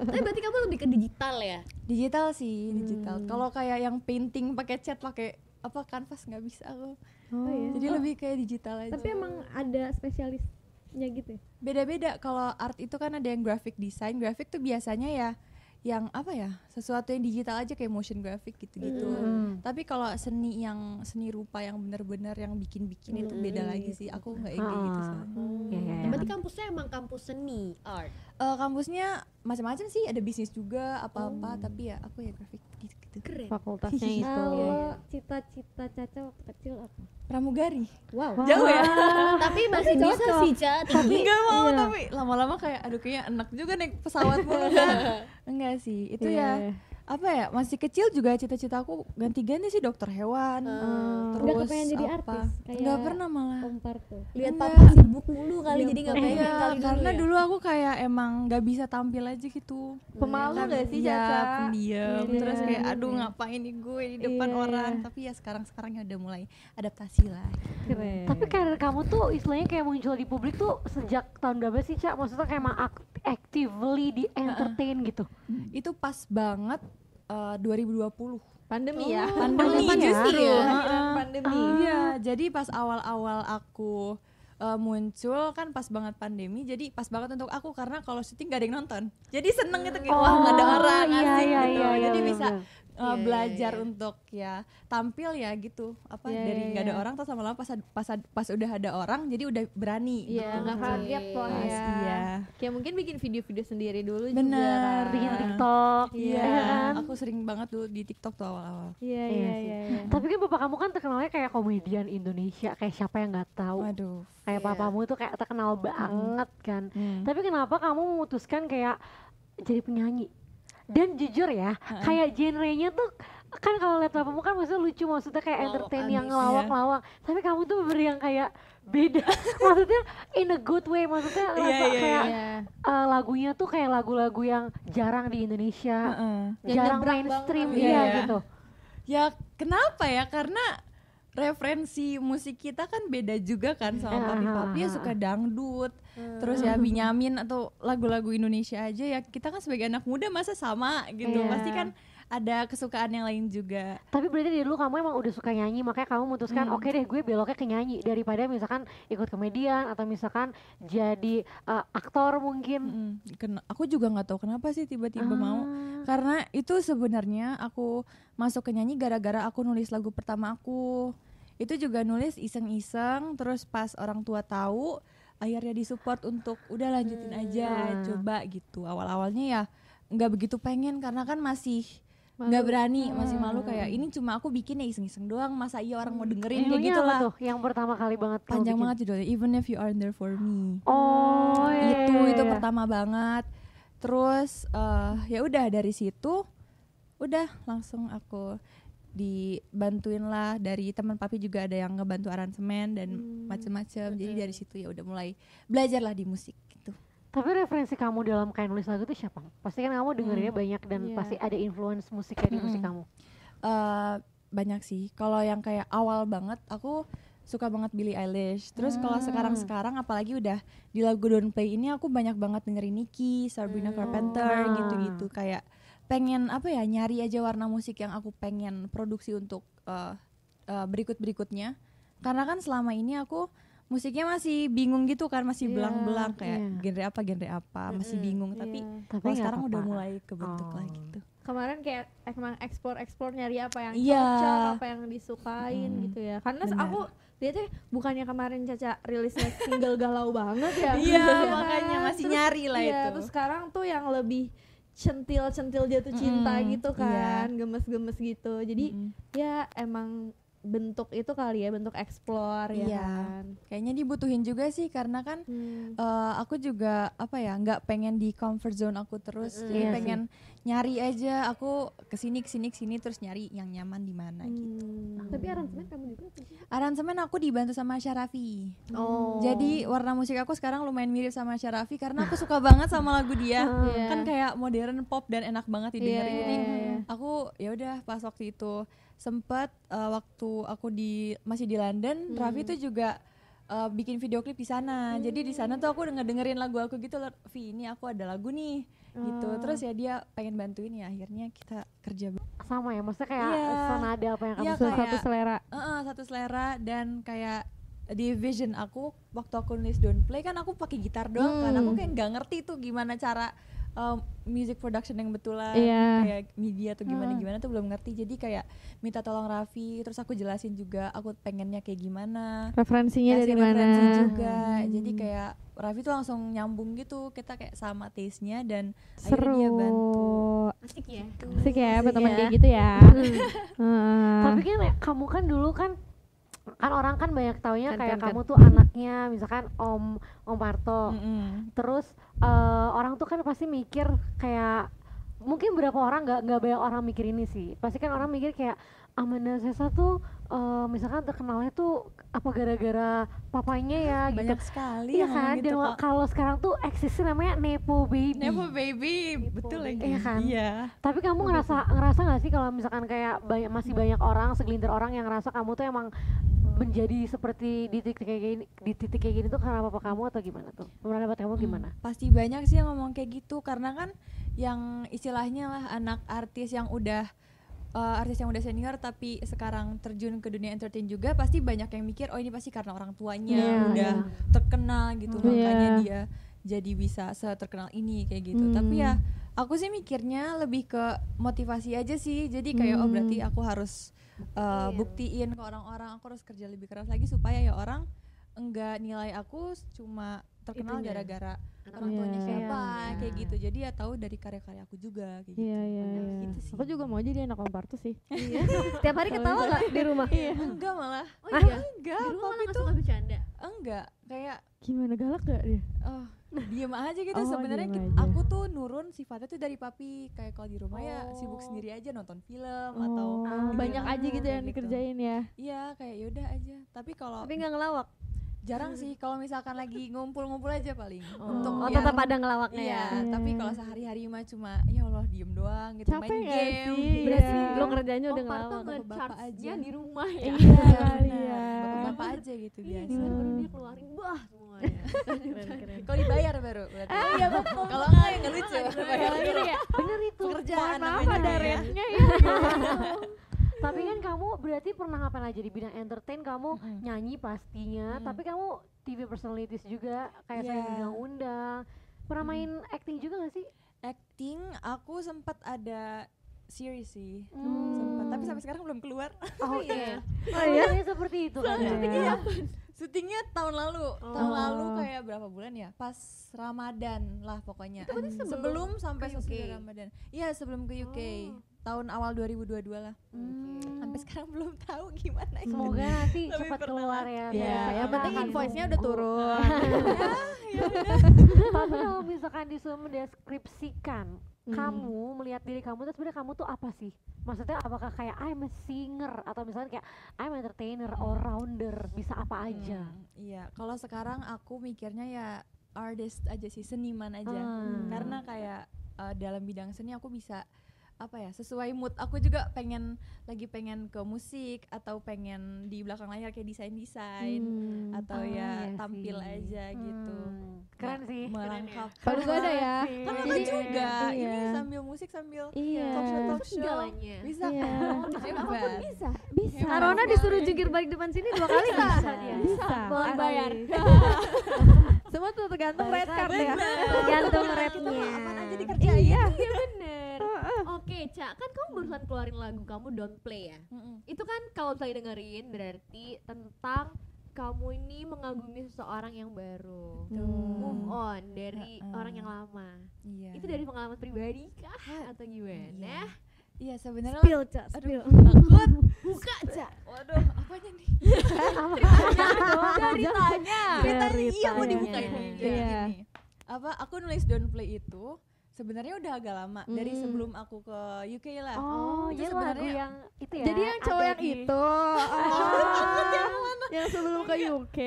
[SPEAKER 6] Tapi berarti kamu lebih ke digital ya?
[SPEAKER 2] [laughs] digital sih digital
[SPEAKER 5] Hmm.
[SPEAKER 2] kalau kayak yang painting pakai cat pakai apa kanvas nggak bisa aku
[SPEAKER 3] [laughs] Oh iya.
[SPEAKER 2] jadi lebih kayak digital aja
[SPEAKER 4] Tapi emang ada spesialisnya gitu ya?
[SPEAKER 2] beda-beda kalau art itu kan ada yang graphic design graphic tuh biasanya ya yang apa ya sesuatu yang digital aja kayak motion graphic gitu-gitu
[SPEAKER 5] Hmm.
[SPEAKER 2] tapi kalau seni yang seni rupa yang benar-benar yang bikin-bikin itu beda lagi sih aku nggak yang kayak gitu
[SPEAKER 5] Ah.
[SPEAKER 2] soalnya.
[SPEAKER 6] Hmm.
[SPEAKER 5] Iya, iya, iya.
[SPEAKER 6] Berarti kampusnya emang kampus seni, art.
[SPEAKER 2] Eh, kampusnya macam-macam sih ada bisnis juga apa-apa tapi ya aku ya grafik gitu-gitu
[SPEAKER 6] Keren.
[SPEAKER 5] [laughs]
[SPEAKER 3] Fakultasnya
[SPEAKER 5] Gitu.
[SPEAKER 3] itu.
[SPEAKER 5] Iya, Oh.
[SPEAKER 4] Kalau cita-cita Caca waktu kecil apa?
[SPEAKER 2] pramugari
[SPEAKER 4] Wow.
[SPEAKER 2] jauh ya
[SPEAKER 6] Tapi
[SPEAKER 4] Tapi
[SPEAKER 6] masih bisa
[SPEAKER 4] cocok.
[SPEAKER 6] sih, eh, Ca, tinggi.
[SPEAKER 2] Enggak mau
[SPEAKER 4] iya.
[SPEAKER 2] tapi lama-lama kayak aduh kayaknya enak juga naik pesawat mulu kan. Enggak sih, itu ya apa ya masih kecil juga cita-cita aku ganti-ganti sih dokter hewan.
[SPEAKER 6] Ah.
[SPEAKER 2] Terus
[SPEAKER 4] Nggak kepengen jadi
[SPEAKER 2] apa?
[SPEAKER 4] artis, kayak-
[SPEAKER 2] Nggak pernah malah.
[SPEAKER 4] Kompar tuh.
[SPEAKER 6] Lihat
[SPEAKER 2] Enggak.
[SPEAKER 6] papa sibuk mulu kali
[SPEAKER 4] Iya,
[SPEAKER 6] jadi nggak
[SPEAKER 4] Papa.
[SPEAKER 6] pengen
[SPEAKER 2] Iya,
[SPEAKER 6] kali
[SPEAKER 2] karena
[SPEAKER 6] ya.
[SPEAKER 2] dulu aku kayak emang nggak bisa tampil aja gitu.
[SPEAKER 3] Pemalu
[SPEAKER 2] Kan,
[SPEAKER 3] nggak sih
[SPEAKER 2] iya,
[SPEAKER 3] Caca?
[SPEAKER 2] pendiam.
[SPEAKER 3] Iya.
[SPEAKER 2] Terus kayak aduh ngapain nih gue di depan
[SPEAKER 3] Iya.
[SPEAKER 2] orang. Tapi ya sekarang-sekarang ya udah mulai adaptasi lah.
[SPEAKER 3] Keren.
[SPEAKER 5] Tapi kan karir kamu tuh istilahnya kayak muncul di publik tuh sejak tahun berapa sih, Cak? Maksudnya kayak emang ak- actively di entertain gitu.
[SPEAKER 2] Itu pas banget eh, 2020.
[SPEAKER 3] pandemi ya.
[SPEAKER 2] Pandemi Iya.
[SPEAKER 6] Pandemi
[SPEAKER 2] justru.
[SPEAKER 6] ya?
[SPEAKER 3] Kelahiran pandemi.
[SPEAKER 2] Iya, jadi pas awal-awal aku uh, muncul kan pas banget pandemi, jadi pas banget untuk aku karena kalau syuting gak ada yang nonton, jadi seneng gitu kayak wah nggak ada orang
[SPEAKER 5] iya,
[SPEAKER 2] asing
[SPEAKER 5] iya,
[SPEAKER 2] gitu,
[SPEAKER 5] iya, iya,
[SPEAKER 2] jadi
[SPEAKER 5] iya,
[SPEAKER 2] bisa
[SPEAKER 5] iya.
[SPEAKER 2] uh, belajar untuk ya tampil ya gitu apa
[SPEAKER 3] Iya,
[SPEAKER 2] dari
[SPEAKER 3] iya,
[SPEAKER 2] nggak ada
[SPEAKER 3] iya.
[SPEAKER 2] orang terus lama-lama pas, ad- pas ad- pas udah ada orang, jadi udah berani.
[SPEAKER 3] Iya,
[SPEAKER 2] gitu.
[SPEAKER 3] nggak kaget loh
[SPEAKER 2] Pas,
[SPEAKER 3] ya.
[SPEAKER 2] iya.
[SPEAKER 3] Kayak mungkin bikin video-video sendiri dulu juga. kan.
[SPEAKER 2] Bener.
[SPEAKER 5] Bikin
[SPEAKER 3] Iya.
[SPEAKER 2] Ah.
[SPEAKER 5] TikTok,
[SPEAKER 2] Iya,
[SPEAKER 5] ya kan?
[SPEAKER 2] aku sering banget dulu di TikTok tuh awal-awal.
[SPEAKER 3] Iya,
[SPEAKER 5] Iya
[SPEAKER 3] iya,
[SPEAKER 5] sih.
[SPEAKER 3] iya. iya.
[SPEAKER 5] Tapi kan bapak kamu kan terkenalnya kayak komedian Indonesia, kayak siapa yang nggak tahu.
[SPEAKER 2] Waduh.
[SPEAKER 5] Kayak
[SPEAKER 6] Iya.
[SPEAKER 5] papamu itu kayak terkenal banget kan.
[SPEAKER 2] Hmm.
[SPEAKER 5] Tapi kenapa kamu memutuskan kayak jadi penyanyi? Dan jujur ya, kayak genrenya tuh kan kalau lihat papamu kan maksudnya lucu maksudnya kayak
[SPEAKER 6] Lawak
[SPEAKER 5] entertain
[SPEAKER 6] abis,
[SPEAKER 5] yang
[SPEAKER 6] iya.
[SPEAKER 5] lawak-lawak. Tapi kamu tuh beri yang kayak beda. maksudnya in a good way, maksudnya ngerasa
[SPEAKER 2] iya,
[SPEAKER 5] kayak
[SPEAKER 3] Iya.
[SPEAKER 5] eh, lagunya tuh kayak lagu-lagu yang jarang di Indonesia,
[SPEAKER 2] Heeh.
[SPEAKER 3] Yang
[SPEAKER 5] jarang
[SPEAKER 3] nyebrang
[SPEAKER 5] mainstream
[SPEAKER 3] banget.
[SPEAKER 5] iya
[SPEAKER 2] Iya.
[SPEAKER 5] gitu.
[SPEAKER 2] Ya kenapa ya? Karena referensi musik kita kan beda juga kan sama
[SPEAKER 5] Ah,
[SPEAKER 2] papi-papi yang
[SPEAKER 5] ah,
[SPEAKER 2] suka dangdut. Terus
[SPEAKER 5] Iya.
[SPEAKER 2] ya Binyamin atau lagu-lagu Indonesia aja ya kita kan sebagai anak muda masa sama gitu.
[SPEAKER 5] Iya.
[SPEAKER 2] Pasti kan ada kesukaan yang lain juga.
[SPEAKER 5] Tapi berarti dari dulu kamu emang udah suka nyanyi, makanya kamu memutuskan oke deh gue beloknya ke nyanyi daripada misalkan ikut komedian atau misalkan jadi eh, aktor mungkin.
[SPEAKER 2] Mm, ken- aku juga nggak tahu kenapa sih tiba-tiba mau.
[SPEAKER 5] Ah.
[SPEAKER 2] Karena itu sebenarnya aku masuk ke nyanyi gara-gara aku nulis lagu pertama aku. Itu juga nulis iseng-iseng terus pas orang tua tahu akhirnya disupport untuk udah lanjutin aja
[SPEAKER 5] Hmm.
[SPEAKER 2] coba gitu. Awal-awalnya ya nggak begitu pengen karena kan masih nggak
[SPEAKER 5] Hmm.
[SPEAKER 2] berani, masih malu kayak ini cuma aku bikin ya iseng-iseng doang, masa iya orang mau dengerin kayak
[SPEAKER 5] Judulnya
[SPEAKER 2] gitu
[SPEAKER 5] apa
[SPEAKER 2] lah.
[SPEAKER 5] tuh yang pertama kali banget kamu
[SPEAKER 2] Panjang
[SPEAKER 5] bikin?
[SPEAKER 2] banget judulnya Even if you aren't there for me
[SPEAKER 5] Oh, iya,
[SPEAKER 2] itu
[SPEAKER 5] iya,
[SPEAKER 2] itu
[SPEAKER 5] iya.
[SPEAKER 2] pertama banget terus eh, ya udah dari situ udah langsung aku dibantuin lah dari teman papi juga ada yang ngebantu aransemen dan
[SPEAKER 3] Hmm,
[SPEAKER 2] macem-macem jadi dari situ ya udah mulai belajar lah di musik gitu
[SPEAKER 5] Tapi referensi kamu dalam kain nulis lagu itu siapa? Pasti kan kamu dengerinnya
[SPEAKER 2] Hmm.
[SPEAKER 5] banyak dan
[SPEAKER 3] Iya.
[SPEAKER 5] pasti ada influence musiknya di musik kamu.
[SPEAKER 2] Eh, banyak sih kalau yang kayak awal banget aku suka banget Billie Eilish terus
[SPEAKER 5] Ah.
[SPEAKER 2] kalau sekarang-sekarang apalagi udah di lagu Don't Play ini aku banyak banget dengerin Nicki, Sabrina Carpenter
[SPEAKER 5] Ah.
[SPEAKER 2] gitu-gitu kayak pengen apa ya nyari aja warna musik yang aku pengen produksi untuk eh, eh, berikut-berikutnya karena kan selama ini aku musiknya masih bingung gitu kan masih
[SPEAKER 3] Iya,
[SPEAKER 2] belang-belang kayak
[SPEAKER 5] iya.
[SPEAKER 2] genre apa genre apa masih bingung tapi
[SPEAKER 3] Iya.
[SPEAKER 5] Tapi
[SPEAKER 2] kalau
[SPEAKER 5] nggak
[SPEAKER 2] sekarang udah
[SPEAKER 5] apa-apa.
[SPEAKER 2] mulai kebentuk lah
[SPEAKER 5] Oh.
[SPEAKER 2] gitu
[SPEAKER 3] kemarin kayak emang explore explore nyari apa yang
[SPEAKER 2] Iya. Hmm.
[SPEAKER 3] cocok apa yang disukain gitu ya karena
[SPEAKER 2] Benar.
[SPEAKER 3] aku Lihatnya bukannya kemarin Caca rilisnya single galau banget ya?
[SPEAKER 2] [laughs] Iya,
[SPEAKER 3] [laughs] kan?
[SPEAKER 2] makanya masih
[SPEAKER 3] Terus-
[SPEAKER 2] nyari lah
[SPEAKER 3] iya,
[SPEAKER 2] itu.
[SPEAKER 3] Terus sekarang tuh yang lebih centil-centil jatuh cinta
[SPEAKER 2] Mm-mm,
[SPEAKER 3] gitu
[SPEAKER 2] iya.
[SPEAKER 3] kan, gemes-gemes gitu. Jadi
[SPEAKER 2] Mm-mm.
[SPEAKER 3] ya emang bentuk itu kali ya, bentuk explore ya
[SPEAKER 2] Iya.
[SPEAKER 3] kan.
[SPEAKER 2] kayaknya dibutuhin juga sih karena kan
[SPEAKER 3] Hmm.
[SPEAKER 2] eh, aku juga apa ya nggak pengen di comfort zone aku terus
[SPEAKER 6] Mm-mm.
[SPEAKER 2] jadi
[SPEAKER 5] Iya sih.
[SPEAKER 2] pengen nyari aja aku kesini kesini kesini terus nyari yang nyaman di mana gitu
[SPEAKER 3] Hmm.
[SPEAKER 4] Tapi aransemen kamu juga apa sih?
[SPEAKER 2] aransemen aku dibantu sama Syarafi
[SPEAKER 6] Oh.
[SPEAKER 2] jadi warna musik aku sekarang lumayan mirip sama Syarafi karena aku suka banget sama lagu
[SPEAKER 3] [laughs]
[SPEAKER 2] dia
[SPEAKER 3] Iya.
[SPEAKER 2] kan kayak modern pop dan enak banget didengerin
[SPEAKER 3] Iya,
[SPEAKER 2] jadi
[SPEAKER 3] iya, iya.
[SPEAKER 2] aku ya udah pas waktu itu sempet eh, waktu aku di masih di London Raffi tuh juga eh, bikin video klip di sana jadi di sana tuh aku ngedengerin lagu aku gitu loh Vi ini aku ada lagu nih gitu terus ya dia pengen bantuin ya akhirnya kita kerja bareng.
[SPEAKER 5] sama ya maksudnya kayak
[SPEAKER 2] Iya.
[SPEAKER 5] senada apa yang kamu
[SPEAKER 2] Iya,
[SPEAKER 5] suka
[SPEAKER 2] kayak-
[SPEAKER 3] satu selera.
[SPEAKER 2] Heeh, satu selera dan kayak di vision aku waktu aku nulis don't play kan aku pakai gitar doang kan aku kayak nggak ngerti tuh gimana cara um, music production yang betulan
[SPEAKER 5] Ah.
[SPEAKER 3] Iya.
[SPEAKER 2] kayak media atau
[SPEAKER 5] Hmm.
[SPEAKER 2] gimana gimana tuh belum ngerti jadi kayak minta tolong Raffi terus aku jelasin juga aku pengennya kayak gimana
[SPEAKER 3] Referensinya
[SPEAKER 5] Iya,
[SPEAKER 2] Kasih
[SPEAKER 3] dari
[SPEAKER 2] referensi
[SPEAKER 3] mana?
[SPEAKER 2] juga
[SPEAKER 5] Hmm.
[SPEAKER 2] jadi kayak Raffi tuh langsung nyambung gitu kita kayak sama taste nya dan
[SPEAKER 3] Seru.
[SPEAKER 2] akhirnya dia bantu
[SPEAKER 6] Asik ya.
[SPEAKER 3] Asik ya,
[SPEAKER 2] Asik
[SPEAKER 3] teman
[SPEAKER 2] ya.
[SPEAKER 3] kayak gitu ya. Heeh.
[SPEAKER 5] tapi kan kamu kan dulu kan kan orang kan banyak taunya
[SPEAKER 3] Kan,
[SPEAKER 5] kayak
[SPEAKER 3] kan, kan.
[SPEAKER 5] kamu tuh anaknya misalkan om om Parto
[SPEAKER 2] Mm-mm.
[SPEAKER 5] terus eh, orang tuh kan pasti mikir kayak mungkin berapa orang nggak nggak banyak orang mikir ini sih pasti kan orang mikir kayak Amanda Sesa tuh eh, misalkan terkenalnya tuh apa gara-gara papanya
[SPEAKER 2] [laughs]
[SPEAKER 5] ya gitu
[SPEAKER 2] banyak sekali
[SPEAKER 5] iya
[SPEAKER 2] yang
[SPEAKER 5] kan
[SPEAKER 2] gitu,
[SPEAKER 5] dan wa-
[SPEAKER 2] Kak.
[SPEAKER 5] kalau sekarang tuh eksisnya namanya nepo baby
[SPEAKER 2] Nepo baby, betul lagi.
[SPEAKER 5] Iya kan?
[SPEAKER 2] Iya.
[SPEAKER 5] tapi kamu ngerasa ngerasa nggak sih kalau misalkan kayak banyak masih
[SPEAKER 2] Hmm.
[SPEAKER 5] banyak orang segelintir orang yang ngerasa kamu tuh emang menjadi seperti di titik kayak gini di titik kayak gini tuh karena papa kamu atau gimana tuh menurut pendapat kamu Oh, gimana
[SPEAKER 2] Hmm, Pasti banyak sih yang ngomong kayak gitu karena kan yang istilahnya lah anak artis yang udah eh, artis yang udah senior tapi sekarang terjun ke dunia entertain juga pasti banyak yang mikir oh ini pasti karena orang tuanya
[SPEAKER 5] Iya,
[SPEAKER 2] udah
[SPEAKER 5] iya.
[SPEAKER 2] terkenal gitu
[SPEAKER 3] Hmm.
[SPEAKER 2] makanya
[SPEAKER 3] Iya.
[SPEAKER 2] dia jadi bisa seterkenal ini kayak gitu.
[SPEAKER 3] Hmm.
[SPEAKER 2] Tapi ya aku sih mikirnya lebih ke motivasi aja sih. Jadi kayak oh
[SPEAKER 3] Hmm.
[SPEAKER 2] berarti aku harus eh, buktiin ke orang-orang aku harus kerja lebih keras lagi supaya ya orang enggak nilai aku cuma terkenal
[SPEAKER 5] Itunya.
[SPEAKER 2] gara-gara
[SPEAKER 6] Anak
[SPEAKER 2] orang tuanya
[SPEAKER 3] Iya.
[SPEAKER 2] siapa
[SPEAKER 5] Iya.
[SPEAKER 2] kayak gitu jadi ya tahu dari karya-karya aku juga kayak gitu
[SPEAKER 3] Iya, iya,
[SPEAKER 2] Nah,
[SPEAKER 3] iya.
[SPEAKER 2] gitu sih.
[SPEAKER 3] Aku juga mau jadi anak kompar tuh sih.
[SPEAKER 4] Tiap hari ketawa nggak di rumah?
[SPEAKER 2] enggak malah Ya
[SPEAKER 6] Oh iya.
[SPEAKER 2] enggak
[SPEAKER 6] Di rumah
[SPEAKER 2] pop
[SPEAKER 6] malah nggak
[SPEAKER 2] itu
[SPEAKER 6] suka bercanda.
[SPEAKER 2] enggak kayak
[SPEAKER 3] Gimana galak gak dia?
[SPEAKER 2] oh diem aja gitu
[SPEAKER 3] Oh,
[SPEAKER 2] sebenarnya
[SPEAKER 3] diem
[SPEAKER 2] ki-
[SPEAKER 3] aja.
[SPEAKER 2] aku tuh nurun sifatnya tuh dari papi kayak kalau di rumah ya sibuk
[SPEAKER 6] Oh.
[SPEAKER 2] sendiri aja nonton film atau
[SPEAKER 3] Oh,
[SPEAKER 5] Ah,
[SPEAKER 3] banyak aja gitu
[SPEAKER 2] kayak
[SPEAKER 3] yang
[SPEAKER 2] gitu.
[SPEAKER 3] dikerjain ya.
[SPEAKER 2] iya kayak yaudah aja Oh. tapi kalau
[SPEAKER 4] Tapi nggak ngelawak.
[SPEAKER 2] jarang sih kalau misalkan lagi ngumpul-ngumpul aja paling
[SPEAKER 3] Oh.
[SPEAKER 2] untuk
[SPEAKER 4] Oh,
[SPEAKER 2] yang-
[SPEAKER 4] tetap ada ngelawaknya
[SPEAKER 2] Iya,
[SPEAKER 4] ya.
[SPEAKER 3] Iya.
[SPEAKER 2] tapi kalau sehari-hari mah cuma ya Allah diem doang gitu
[SPEAKER 3] Capek
[SPEAKER 2] main
[SPEAKER 3] nggak
[SPEAKER 2] game.
[SPEAKER 3] sih?
[SPEAKER 2] gitu.
[SPEAKER 4] Berarti
[SPEAKER 3] Iya.
[SPEAKER 4] lo kerjanya udah
[SPEAKER 6] Oh, Parto
[SPEAKER 4] ngelawak.
[SPEAKER 2] nggak- Bapak
[SPEAKER 6] ngecharge-nya
[SPEAKER 2] aja.
[SPEAKER 6] di rumah ya.
[SPEAKER 3] Iya kali ya.
[SPEAKER 2] Bapak, bapak aja gitu
[SPEAKER 6] Iya,
[SPEAKER 2] biasa.
[SPEAKER 6] gila, baru
[SPEAKER 3] Hmm.
[SPEAKER 6] dia keluarin wah semuanya.
[SPEAKER 2] Kalau dibayar baru berarti. iya betul. Kalau enggak ya nggak lucu. Bayar dulu.
[SPEAKER 5] bener itu
[SPEAKER 2] Pekerjaan
[SPEAKER 5] Mohon maaf
[SPEAKER 2] namanya,
[SPEAKER 5] ada
[SPEAKER 2] ya.
[SPEAKER 5] rate-nya ya. tapi kan kamu berarti pernah ngapain aja di bidang entertain kamu
[SPEAKER 2] Mm-mm.
[SPEAKER 5] nyanyi pastinya
[SPEAKER 2] Mm-mm.
[SPEAKER 5] tapi kamu TV personalities juga kayak saya
[SPEAKER 2] Iya.
[SPEAKER 5] undang-undang pernah
[SPEAKER 2] Mm.
[SPEAKER 5] main acting juga gak sih
[SPEAKER 2] Acting aku sempat ada series sih.
[SPEAKER 5] Hmm.
[SPEAKER 2] Mm. Sempat, tapi sampai sekarang belum keluar.
[SPEAKER 5] oh iya oh
[SPEAKER 4] iya?
[SPEAKER 5] seperti itu kan ya.
[SPEAKER 2] Syutingnya tahun lalu. Tahun lalu kayak berapa bulan ya? Pas Ramadan lah pokoknya. Eh,
[SPEAKER 6] sebelum
[SPEAKER 2] sampai
[SPEAKER 6] ke UK?
[SPEAKER 2] sesudah Ramadan. Iya, sebelum ke UK. Tahun awal 2022 lah.
[SPEAKER 5] Hmm.
[SPEAKER 2] Sampai sekarang belum tahu gimana itu.
[SPEAKER 5] semoga nanti
[SPEAKER 2] Lebih
[SPEAKER 5] cepat
[SPEAKER 2] pernah.
[SPEAKER 5] keluar ya
[SPEAKER 3] Iya,
[SPEAKER 5] Saya
[SPEAKER 3] yang penting
[SPEAKER 6] kan
[SPEAKER 5] akan
[SPEAKER 3] invoice-nya udah
[SPEAKER 5] tunggu.
[SPEAKER 6] Oh,
[SPEAKER 3] turun.
[SPEAKER 5] tapi kalau misalkan disuruh mendeskripsikan
[SPEAKER 2] Hmm.
[SPEAKER 5] kamu melihat diri kamu terus sebenarnya kamu tuh apa sih maksudnya apakah kayak I'm a singer atau misalnya kayak I'm entertainer all rounder bisa apa aja
[SPEAKER 2] Hmm, iya, kalau sekarang aku mikirnya ya artist aja sih, seniman aja.
[SPEAKER 5] Hmm.
[SPEAKER 2] Karena kayak uh, dalam bidang seni aku bisa apa ya, sesuai mood aku juga pengen lagi pengen ke musik atau pengen di belakang layar kayak desain-desain
[SPEAKER 3] Hmm.
[SPEAKER 2] atau
[SPEAKER 5] Ah,
[SPEAKER 2] ya
[SPEAKER 5] iya
[SPEAKER 2] tampil
[SPEAKER 5] sih.
[SPEAKER 2] aja gitu.
[SPEAKER 5] Hmm. keren sih
[SPEAKER 2] Melengkap.
[SPEAKER 3] Kalau gue ada ya.
[SPEAKER 2] Kan
[SPEAKER 5] Iya.
[SPEAKER 2] lama
[SPEAKER 3] Jadi-
[SPEAKER 2] juga.
[SPEAKER 3] iya.
[SPEAKER 2] Ini sambil musik sambil
[SPEAKER 3] Iya.
[SPEAKER 2] talk show talk
[SPEAKER 6] Itu
[SPEAKER 2] show.
[SPEAKER 6] segalanya.
[SPEAKER 2] Bisa
[SPEAKER 3] Iya.
[SPEAKER 2] kan?
[SPEAKER 6] Apapun
[SPEAKER 2] Hebat.
[SPEAKER 6] bisa.
[SPEAKER 3] Bisa.
[SPEAKER 2] Hebat.
[SPEAKER 4] Arona disuruh jungkir balik depan sini dua kali bisa.
[SPEAKER 2] Iya.
[SPEAKER 3] Bisa.
[SPEAKER 6] Boleh
[SPEAKER 3] Asli. [laughs]
[SPEAKER 6] bayar.
[SPEAKER 3] Semua tuh tergantung red card ya.
[SPEAKER 2] Bener.
[SPEAKER 4] Gantung
[SPEAKER 2] Kita mau
[SPEAKER 4] rednya.
[SPEAKER 2] apaan aja dikerjain.
[SPEAKER 3] Iya.
[SPEAKER 6] Iya bener. Oke, Ca, kan kamu barusan keluarin lagu kamu Don't Play ya.
[SPEAKER 2] Mm-mm.
[SPEAKER 6] Itu kan kalau misalnya dengerin berarti tentang kamu ini mengagumi seseorang yang baru. Move on dari
[SPEAKER 2] Hmm. Heeh.
[SPEAKER 6] orang yang lama.
[SPEAKER 2] Iya.
[SPEAKER 6] Itu dari pengalaman pribadi kah atau
[SPEAKER 2] Iya.
[SPEAKER 6] gimana?
[SPEAKER 2] Iya, sebenarnya
[SPEAKER 4] Spill, Ca,
[SPEAKER 2] Aduh.
[SPEAKER 4] spill.
[SPEAKER 2] takut.
[SPEAKER 6] Buka, Ca.
[SPEAKER 2] Waduh, apanya nih?
[SPEAKER 6] Ceritanya.
[SPEAKER 2] Ceritanya iya mau
[SPEAKER 4] Ceritanya.
[SPEAKER 2] dibukain nih. Jadi
[SPEAKER 4] Iya.
[SPEAKER 2] gini, Apa aku nulis Don't Play itu sebenarnya udah agak lama dari
[SPEAKER 3] Mm.
[SPEAKER 2] sebelum aku ke UK lah.
[SPEAKER 5] Oh,
[SPEAKER 2] itu
[SPEAKER 5] iya lagu
[SPEAKER 2] sebenarnya-
[SPEAKER 5] yang itu ya.
[SPEAKER 3] Jadi yang cowok
[SPEAKER 5] ada
[SPEAKER 3] yang
[SPEAKER 5] di-
[SPEAKER 3] itu. Ah, yang sebelum ke UK.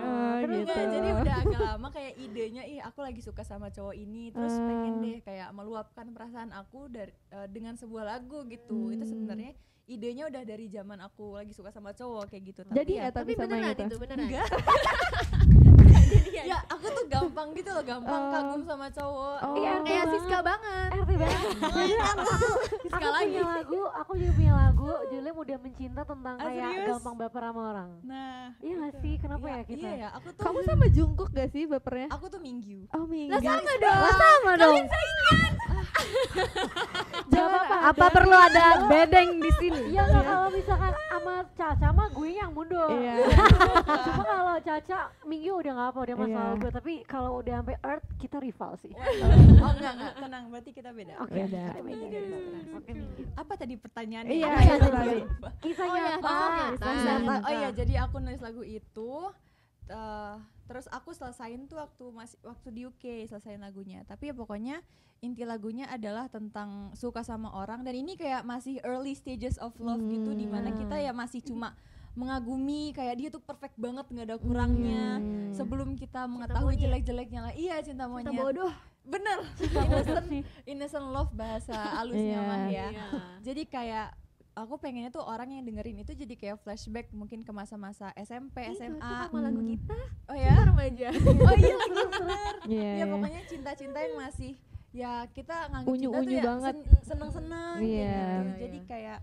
[SPEAKER 3] ah,
[SPEAKER 5] Terus
[SPEAKER 3] gitu.
[SPEAKER 2] Enggak, jadi udah agak lama kayak idenya ih aku lagi suka sama cowok ini terus pengen
[SPEAKER 3] Ah.
[SPEAKER 2] deh kayak meluapkan perasaan aku dari eh, dengan sebuah lagu gitu. Itu sebenarnya idenya udah dari zaman aku lagi suka sama cowok kayak gitu. Tapi
[SPEAKER 3] Jadi
[SPEAKER 2] ya,
[SPEAKER 3] ya tapi
[SPEAKER 6] Tapi
[SPEAKER 3] sama yang
[SPEAKER 6] beneran
[SPEAKER 3] itu.
[SPEAKER 6] itu, beneran.
[SPEAKER 2] Enggak.
[SPEAKER 6] Jadian.
[SPEAKER 2] ya aku tuh gampang gitu loh, gampang
[SPEAKER 3] Oh.
[SPEAKER 2] kagum sama cowok.
[SPEAKER 3] Oh.
[SPEAKER 5] Iya,
[SPEAKER 6] Kayak
[SPEAKER 5] banget.
[SPEAKER 6] Siska banget.
[SPEAKER 5] Eh, RT banget. Jadi aku, aku
[SPEAKER 2] Iya. Sekali
[SPEAKER 5] punya lagu, aku juga punya lagu judulnya Mudah Mencinta tentang
[SPEAKER 2] Ah,
[SPEAKER 5] kayak
[SPEAKER 2] serius?
[SPEAKER 5] gampang baper sama orang.
[SPEAKER 2] Nah,
[SPEAKER 5] Iya gak sih? Kenapa
[SPEAKER 2] iya,
[SPEAKER 5] ya kita?
[SPEAKER 2] Iya ya, aku tuh
[SPEAKER 3] Kamu ya? sama Jungkook gak sih bapernya?
[SPEAKER 2] aku tuh minggu.
[SPEAKER 3] Oh minggu.
[SPEAKER 6] Lah sama dong.
[SPEAKER 4] sama dong.
[SPEAKER 3] Jangan Iya.
[SPEAKER 4] Apa perlu ada bedeng di sini?
[SPEAKER 5] Iya nggak kalau misalkan sama Caca mah gue yang mundur.
[SPEAKER 3] Iya.
[SPEAKER 5] Cuma kalau Caca minggu udah nggak apa udah masalah
[SPEAKER 3] Iya.
[SPEAKER 5] gue. Tapi kalau udah sampai Earth kita rival sih.
[SPEAKER 2] [laughs] oh enggak enggak, tenang berarti kita beda.
[SPEAKER 5] Oke.
[SPEAKER 3] Beda.
[SPEAKER 5] kita beda, beda, beda. Oke minggu.
[SPEAKER 2] Apa tadi pertanyaannya?
[SPEAKER 3] Iya,
[SPEAKER 2] Apa ya
[SPEAKER 3] iya,
[SPEAKER 2] tadi?
[SPEAKER 3] tadi.
[SPEAKER 5] Kisah
[SPEAKER 6] Oh, iya,
[SPEAKER 5] nyata.
[SPEAKER 6] kisah nyata.
[SPEAKER 5] Kisah
[SPEAKER 2] Nah,
[SPEAKER 5] nyata.
[SPEAKER 2] oh iya jadi aku nulis lagu itu eh, terus aku selesain tuh waktu masih waktu di UK selesain lagunya tapi ya pokoknya inti lagunya adalah tentang suka sama orang dan ini kayak masih early stages of love gitu dimana kita ya masih cuma mengagumi kayak dia tuh perfect banget nggak ada kurangnya sebelum kita mengetahui
[SPEAKER 6] monyet.
[SPEAKER 2] jelek-jeleknya lah iya cinta monyet
[SPEAKER 6] Kita bodoh.
[SPEAKER 2] bener innocent innocent love bahasa halusnya
[SPEAKER 3] Iya.
[SPEAKER 2] mah ya
[SPEAKER 6] Iya.
[SPEAKER 2] jadi kayak aku pengennya tuh orang yang dengerin itu jadi kayak flashback mungkin ke masa-masa SMP,
[SPEAKER 6] Ih, cocok
[SPEAKER 2] SMA.
[SPEAKER 6] Iya, sama lagu kita.
[SPEAKER 2] Oh ya.
[SPEAKER 6] Remaja.
[SPEAKER 2] [laughs] Oh
[SPEAKER 6] [laughs]
[SPEAKER 2] iya lagi bener.
[SPEAKER 3] Iya.
[SPEAKER 2] Ya pokoknya cinta-cinta yang masih ya kita nganggap cinta tuh
[SPEAKER 3] Unyu-unyu
[SPEAKER 2] ya
[SPEAKER 3] banget.
[SPEAKER 2] sen- seneng-seneng
[SPEAKER 3] Iya.
[SPEAKER 2] gitu.
[SPEAKER 6] Iya,
[SPEAKER 2] Jadi
[SPEAKER 6] iya.
[SPEAKER 2] kayak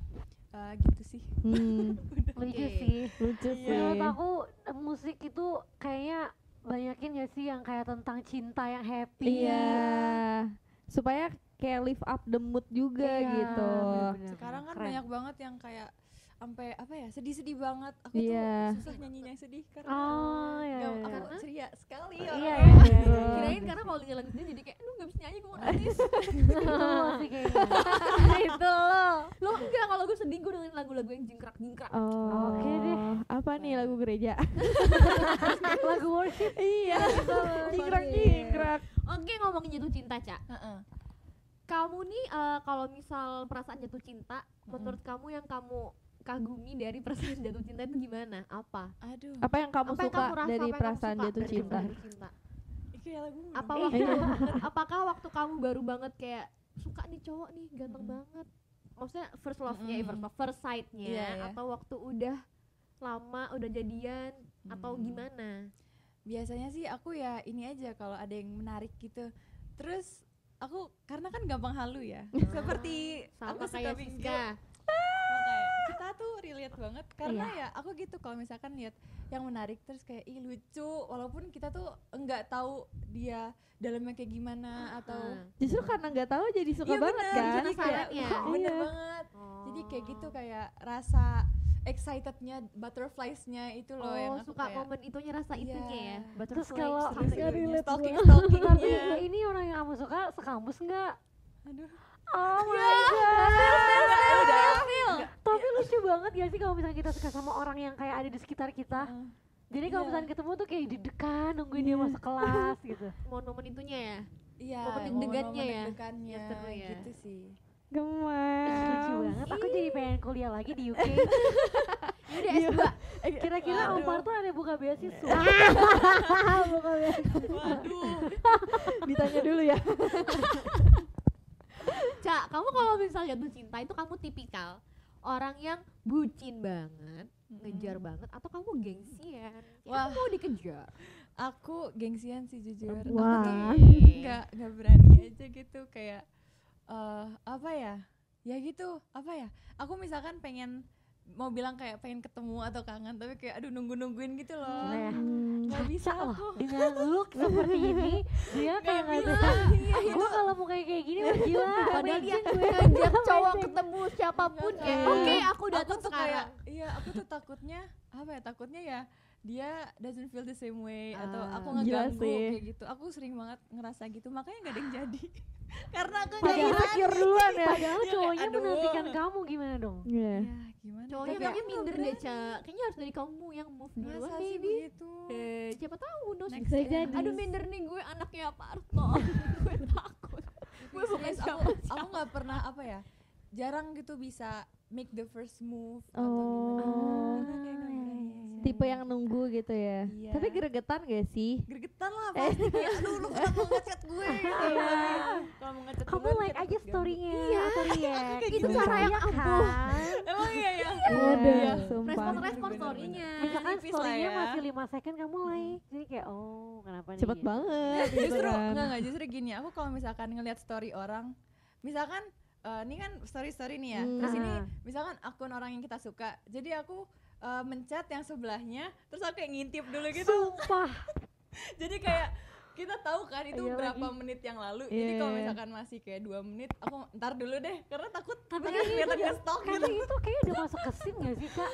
[SPEAKER 2] eh, gitu sih.
[SPEAKER 3] Hmm,
[SPEAKER 5] Lucu
[SPEAKER 6] Oke.
[SPEAKER 5] sih.
[SPEAKER 3] lucu sih. Iya.
[SPEAKER 5] Menurut aku eh, musik itu kayaknya banyakin ya sih yang kayak tentang cinta yang happy.
[SPEAKER 3] Iya. Supaya kayak lift up the mood juga
[SPEAKER 5] Iya,
[SPEAKER 3] gitu.
[SPEAKER 5] bener-bener.
[SPEAKER 2] Sekarang kan
[SPEAKER 5] Keren.
[SPEAKER 2] banyak banget yang kayak sampai apa ya sedih-sedih banget. Aku
[SPEAKER 3] Iya.
[SPEAKER 2] tuh susah nyanyinya sedih karena
[SPEAKER 5] Oh iya.
[SPEAKER 2] nggak-
[SPEAKER 5] iya.
[SPEAKER 2] aku ceria sekali
[SPEAKER 5] Iya,
[SPEAKER 2] orang
[SPEAKER 5] iya,
[SPEAKER 2] orang.
[SPEAKER 5] iya, iya.
[SPEAKER 6] Kirain karena kalau denger lagu dia jadi kayak lu gak bisa nyanyi gue mau nangis.
[SPEAKER 5] Itu loh sih kayaknya.
[SPEAKER 4] Itu loh.
[SPEAKER 6] Lo enggak kalau gue sedih gue dengerin lagu-lagu yang jingkrak-jingkrak.
[SPEAKER 3] Oh.
[SPEAKER 5] Oke deh.
[SPEAKER 3] Apa nih lagu gereja?
[SPEAKER 5] Lagu worship.
[SPEAKER 3] iya. Jingkrak-jingkrak.
[SPEAKER 6] Oke, ngomongin jatuh cinta, Ca.
[SPEAKER 2] Heeh.
[SPEAKER 6] Kamu nih eh, kalau misal perasaan jatuh cinta, menurut kamu yang kamu kagumi dari perasaan jatuh cinta itu gimana? Apa?
[SPEAKER 2] Aduh.
[SPEAKER 3] Apa yang kamu
[SPEAKER 6] apa yang
[SPEAKER 3] suka
[SPEAKER 6] kamu
[SPEAKER 3] dari
[SPEAKER 6] rasa, apa yang kamu
[SPEAKER 3] perasaan
[SPEAKER 6] suka
[SPEAKER 3] jatuh
[SPEAKER 6] dari
[SPEAKER 3] cinta?
[SPEAKER 6] perasaan jatuh cinta?
[SPEAKER 2] Ini kayak lagu dong. [laughs]
[SPEAKER 6] Apa waktu, [laughs] apakah waktu kamu baru banget kayak suka nih cowok nih ganteng
[SPEAKER 2] Mm-mm.
[SPEAKER 6] banget? Maksudnya first love-nya,
[SPEAKER 2] Mm-mm.
[SPEAKER 6] first love, first sight-nya
[SPEAKER 2] Iya, iya.
[SPEAKER 6] atau waktu udah lama udah jadian atau
[SPEAKER 2] Hmm.
[SPEAKER 6] gimana?
[SPEAKER 2] biasanya sih aku ya ini aja kalau ada yang menarik gitu terus aku karena kan gampang halu ya seperti
[SPEAKER 6] Ah, Sama
[SPEAKER 2] aku suka
[SPEAKER 6] kayak
[SPEAKER 2] minggu
[SPEAKER 6] Siska. Iya.
[SPEAKER 2] makanya kita tuh relate banget karena ya aku gitu kalau misalkan lihat yang menarik terus kayak ih lucu walaupun kita tuh enggak tahu dia dalamnya kayak gimana atau
[SPEAKER 6] Heeh.
[SPEAKER 3] Justru karena nggak tahu jadi suka
[SPEAKER 2] Iya,
[SPEAKER 3] banget
[SPEAKER 2] bener,
[SPEAKER 3] kan?
[SPEAKER 2] jadi kayak
[SPEAKER 6] Penasarannya.
[SPEAKER 2] bener
[SPEAKER 3] Iya.
[SPEAKER 2] banget jadi kayak
[SPEAKER 6] Oh.
[SPEAKER 2] gitu kayak rasa excitednya butterflies-nya itu
[SPEAKER 6] Oh,
[SPEAKER 2] loh yang aku
[SPEAKER 6] suka
[SPEAKER 2] kayak,
[SPEAKER 6] momen itunya rasa itunya ya.
[SPEAKER 2] Iya.
[SPEAKER 5] Terus kalau
[SPEAKER 2] stalking
[SPEAKER 5] tapi
[SPEAKER 2] stalkingnya
[SPEAKER 5] ini orang yang kamu suka sekampus nggak?
[SPEAKER 2] aduh Ya.
[SPEAKER 5] Oh my god. Tapi lucu banget ya sih kalau misalnya kita suka sama orang yang kayak ada di sekitar kita.
[SPEAKER 2] Heeh.
[SPEAKER 5] Jadi kalau
[SPEAKER 2] Iya.
[SPEAKER 5] misalnya ketemu tuh kayak deg-degan nungguin dia masuk kelas gitu.
[SPEAKER 6] Momen-momen itunya ya.
[SPEAKER 2] Iya,
[SPEAKER 6] Momen
[SPEAKER 2] momen-momen
[SPEAKER 6] deg-degannya ya,
[SPEAKER 2] deg-degannya,
[SPEAKER 6] yang seru ya.
[SPEAKER 2] gitu sih.
[SPEAKER 5] Lucu
[SPEAKER 2] Iya.
[SPEAKER 3] Gemes.
[SPEAKER 5] banget. Aku jadi pengen kuliah lagi di UK.
[SPEAKER 6] Yaudah
[SPEAKER 3] Iya.
[SPEAKER 6] S2.
[SPEAKER 5] Kira-kira
[SPEAKER 2] Waduh.
[SPEAKER 5] Ompar tuh ada buka beasiswa.
[SPEAKER 2] Iya. Waduh.
[SPEAKER 3] Ditanya dulu ya.
[SPEAKER 6] Cak, kamu kalau misalnya jatuh cinta itu kamu tipikal orang yang bucin banget, ngejar banget atau kamu gengsian?
[SPEAKER 2] Hmm. Wah.
[SPEAKER 6] Wah, mau
[SPEAKER 2] [laughs]
[SPEAKER 6] dikejar.
[SPEAKER 2] Aku gengsian sih jujur.
[SPEAKER 3] Wah.
[SPEAKER 2] Aku tuh nggak nggak berani aja gitu kayak eh apa ya? Ya gitu, apa ya? Aku misalkan pengen mau bilang kayak pengen ketemu atau kangen tapi kayak aduh nunggu-nungguin gitu
[SPEAKER 5] Gila
[SPEAKER 2] loh.
[SPEAKER 5] ya.
[SPEAKER 2] Nggak bisa
[SPEAKER 5] Caca loh
[SPEAKER 2] aku.
[SPEAKER 5] dengan look seperti ini dia kayak nggak
[SPEAKER 2] bisa. Iya.
[SPEAKER 5] bisa. Gue kalau mukanya kayak gini mah gila.
[SPEAKER 6] ada
[SPEAKER 4] Sama
[SPEAKER 6] dia
[SPEAKER 4] aja gue.
[SPEAKER 6] ngajak cowok ketemu siapapun kayak gitu.
[SPEAKER 2] Iya.
[SPEAKER 6] oke aku
[SPEAKER 2] aku
[SPEAKER 6] datang
[SPEAKER 2] tuh
[SPEAKER 6] sekarang
[SPEAKER 2] kayak iya aku tuh takutnya apa ya takutnya ya dia doesn't feel the same way atau
[SPEAKER 3] Ah,
[SPEAKER 2] aku
[SPEAKER 3] gila
[SPEAKER 2] ngeganggu
[SPEAKER 3] sih.
[SPEAKER 2] kayak gitu aku sering banget ngerasa gitu makanya nggak ada yang jadi [laughs] karena aku
[SPEAKER 5] Padahal
[SPEAKER 2] nggak
[SPEAKER 5] insecure duluan ya. Padahal
[SPEAKER 2] Iya,
[SPEAKER 5] cowoknya
[SPEAKER 2] aduh.
[SPEAKER 5] menantikan kamu gimana dong?
[SPEAKER 3] Iya.
[SPEAKER 2] ya gimana
[SPEAKER 6] cowoknya
[SPEAKER 2] Tapi
[SPEAKER 6] kayaknya
[SPEAKER 2] aku
[SPEAKER 6] minder
[SPEAKER 2] nggak
[SPEAKER 6] deh Ca. kayaknya harus dari kamu yang move
[SPEAKER 2] berani.
[SPEAKER 6] duluan
[SPEAKER 2] Masa sih
[SPEAKER 6] baby
[SPEAKER 2] begitu Gitu,
[SPEAKER 6] eh, siapa tahu knows
[SPEAKER 2] Next
[SPEAKER 6] bisa
[SPEAKER 4] time.
[SPEAKER 6] jadi aduh minder nih gue anaknya Parto [laughs] gue takut gue bukan
[SPEAKER 2] Serius,
[SPEAKER 6] siapa
[SPEAKER 2] gitu. aku aku nggak pernah apa ya jarang gitu bisa make the first move atau gimana Karena
[SPEAKER 3] Oh.
[SPEAKER 2] kayak nggak berani aja.
[SPEAKER 3] Tipe yang nunggu gitu ya.
[SPEAKER 2] Iya.
[SPEAKER 3] Tapi gregetan gak sih?
[SPEAKER 2] gregetan lah pasti kayak aduh lu kenapa ngechat gue gitu kan. Kalau mau ngechat
[SPEAKER 5] Kamu
[SPEAKER 2] duluan,
[SPEAKER 5] like
[SPEAKER 2] kita
[SPEAKER 5] aja
[SPEAKER 2] gabung.
[SPEAKER 5] story-nya atau react.
[SPEAKER 2] Iya. kayak
[SPEAKER 6] itu
[SPEAKER 2] gitu.
[SPEAKER 6] cara yang ampuh
[SPEAKER 2] Emang iya ya.
[SPEAKER 3] Waduh,
[SPEAKER 2] Iya.
[SPEAKER 3] sumpah.
[SPEAKER 6] respon-respon
[SPEAKER 2] Bener-bener.
[SPEAKER 6] Kan story-nya
[SPEAKER 5] Misalkan
[SPEAKER 2] Tipis lah
[SPEAKER 5] Iya kan, story-nya
[SPEAKER 2] ya.
[SPEAKER 5] masih 5 second kamu like. Jadi kayak oh, kenapa nih?
[SPEAKER 3] Cepet
[SPEAKER 5] gitu.
[SPEAKER 3] banget. gitu
[SPEAKER 2] Justru
[SPEAKER 3] kan.
[SPEAKER 2] enggak enggak justru gini, aku kalau misalkan ngelihat story orang, misalkan eh, ini kan story story nih ya.
[SPEAKER 3] Hmm.
[SPEAKER 2] Terus ini
[SPEAKER 5] Ah.
[SPEAKER 2] misalkan akun orang yang kita suka. Jadi aku eh, mencet yang sebelahnya, terus aku kayak ngintip dulu gitu.
[SPEAKER 5] Sumpah.
[SPEAKER 2] Jadi kayak kita tahu kan itu
[SPEAKER 5] Iya
[SPEAKER 2] berapa
[SPEAKER 5] lagi.
[SPEAKER 2] menit yang lalu. Jadi
[SPEAKER 3] Iya,
[SPEAKER 2] kalau
[SPEAKER 3] iya.
[SPEAKER 2] misalkan masih kayak dua menit, aku ntar dulu deh karena takut takutnya kelihatan nge-stalk
[SPEAKER 5] Karena
[SPEAKER 2] gitu.
[SPEAKER 5] kan itu kayaknya udah masuk ke scene gak sih, Kak?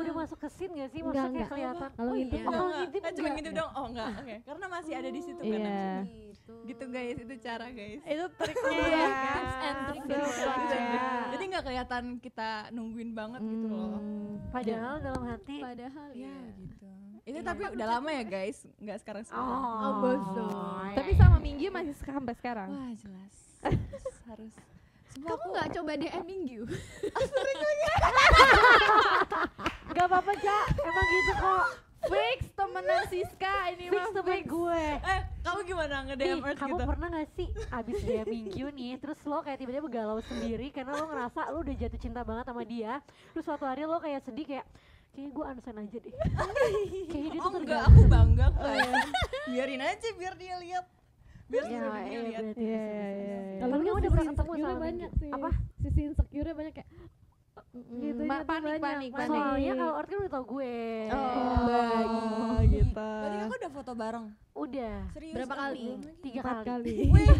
[SPEAKER 5] Udah masuk ke scene gak sih?
[SPEAKER 3] Enggak,
[SPEAKER 5] Maksudnya kayak
[SPEAKER 3] enggak.
[SPEAKER 5] kelihatan.
[SPEAKER 3] Kalau
[SPEAKER 5] Oh,
[SPEAKER 3] ngintip
[SPEAKER 5] iya. Oh,
[SPEAKER 2] Enggak,
[SPEAKER 5] kalau ngintip
[SPEAKER 2] enggak, cuma
[SPEAKER 5] enggak.
[SPEAKER 2] ngintip dong. Oh, enggak. Oke. Karena masih ada di situ kan.
[SPEAKER 3] Iya.
[SPEAKER 2] aku.
[SPEAKER 6] gitu
[SPEAKER 2] Gitu guys, itu cara guys.
[SPEAKER 6] Eh,
[SPEAKER 3] Itu triknya
[SPEAKER 5] Iya,
[SPEAKER 3] ya.
[SPEAKER 5] tips and trick
[SPEAKER 3] Sumpah.
[SPEAKER 5] gitu kan.
[SPEAKER 3] Iya.
[SPEAKER 2] Jadi nggak kelihatan kita nungguin banget gitu loh.
[SPEAKER 3] Hmm.
[SPEAKER 5] Padahal dalam hati.
[SPEAKER 6] padahal
[SPEAKER 2] Iya
[SPEAKER 6] ya
[SPEAKER 2] gitu. Itu tapi udah lama ya guys, nggak sekarang sekarang.
[SPEAKER 5] Oh,
[SPEAKER 6] bosan.
[SPEAKER 3] Tapi sama Minggi masih suka sampai sekarang.
[SPEAKER 2] Wah
[SPEAKER 5] [laughs]
[SPEAKER 2] jelas, harus. harus. Sumpah
[SPEAKER 6] kamu
[SPEAKER 2] aku-
[SPEAKER 6] nggak coba DM minggu
[SPEAKER 5] Gak apa-apa, Cak. Emang gitu kok.
[SPEAKER 3] Fix temenan Siska ini
[SPEAKER 5] Fix
[SPEAKER 3] mah
[SPEAKER 5] temen gue.
[SPEAKER 2] Eh, kamu gimana nge-DM
[SPEAKER 5] Ih,
[SPEAKER 2] Earth
[SPEAKER 5] kamu
[SPEAKER 2] gitu?
[SPEAKER 5] pernah gak sih abis dia minggu nih terus lo kayak tiba-tiba galau sendiri karena lo ngerasa lo udah jatuh cinta banget sama dia terus suatu hari lo kayak sedih kayak kayaknya gue unfriend aja deh kayaknya dia
[SPEAKER 2] oh
[SPEAKER 5] tuh
[SPEAKER 2] enggak,
[SPEAKER 5] tergantung
[SPEAKER 2] aku bangga kok. [laughs] Biarin aja biar dia lihat. Biar
[SPEAKER 5] ya
[SPEAKER 2] seluruh dunia
[SPEAKER 5] iya
[SPEAKER 2] lihat.
[SPEAKER 5] berarti bisa,
[SPEAKER 3] Iya, iya,
[SPEAKER 5] bisa,
[SPEAKER 3] iya,
[SPEAKER 5] bisa.
[SPEAKER 3] iya.
[SPEAKER 5] tapi kamu udah
[SPEAKER 4] sisi
[SPEAKER 5] pernah ketemu
[SPEAKER 4] insecure-nya
[SPEAKER 5] sama
[SPEAKER 4] banyak
[SPEAKER 5] banyak
[SPEAKER 4] sih.
[SPEAKER 5] apa
[SPEAKER 4] Sisi insecure-nya banyak kayak Gitu,
[SPEAKER 3] Ma-
[SPEAKER 4] ingat tuh
[SPEAKER 3] panik,
[SPEAKER 4] banyak,
[SPEAKER 3] panik,
[SPEAKER 4] Mas.
[SPEAKER 3] panik.
[SPEAKER 5] soalnya kalau Ort kan udah tau gue
[SPEAKER 2] Oh.
[SPEAKER 3] Oh, gitu.
[SPEAKER 2] Iya. Berarti aku udah foto bareng.
[SPEAKER 5] udah
[SPEAKER 2] Serius?
[SPEAKER 6] Berapa
[SPEAKER 2] aku
[SPEAKER 6] kali?
[SPEAKER 2] belum lagi.
[SPEAKER 5] tiga
[SPEAKER 4] empat
[SPEAKER 5] kali,
[SPEAKER 4] kali.
[SPEAKER 2] Wih,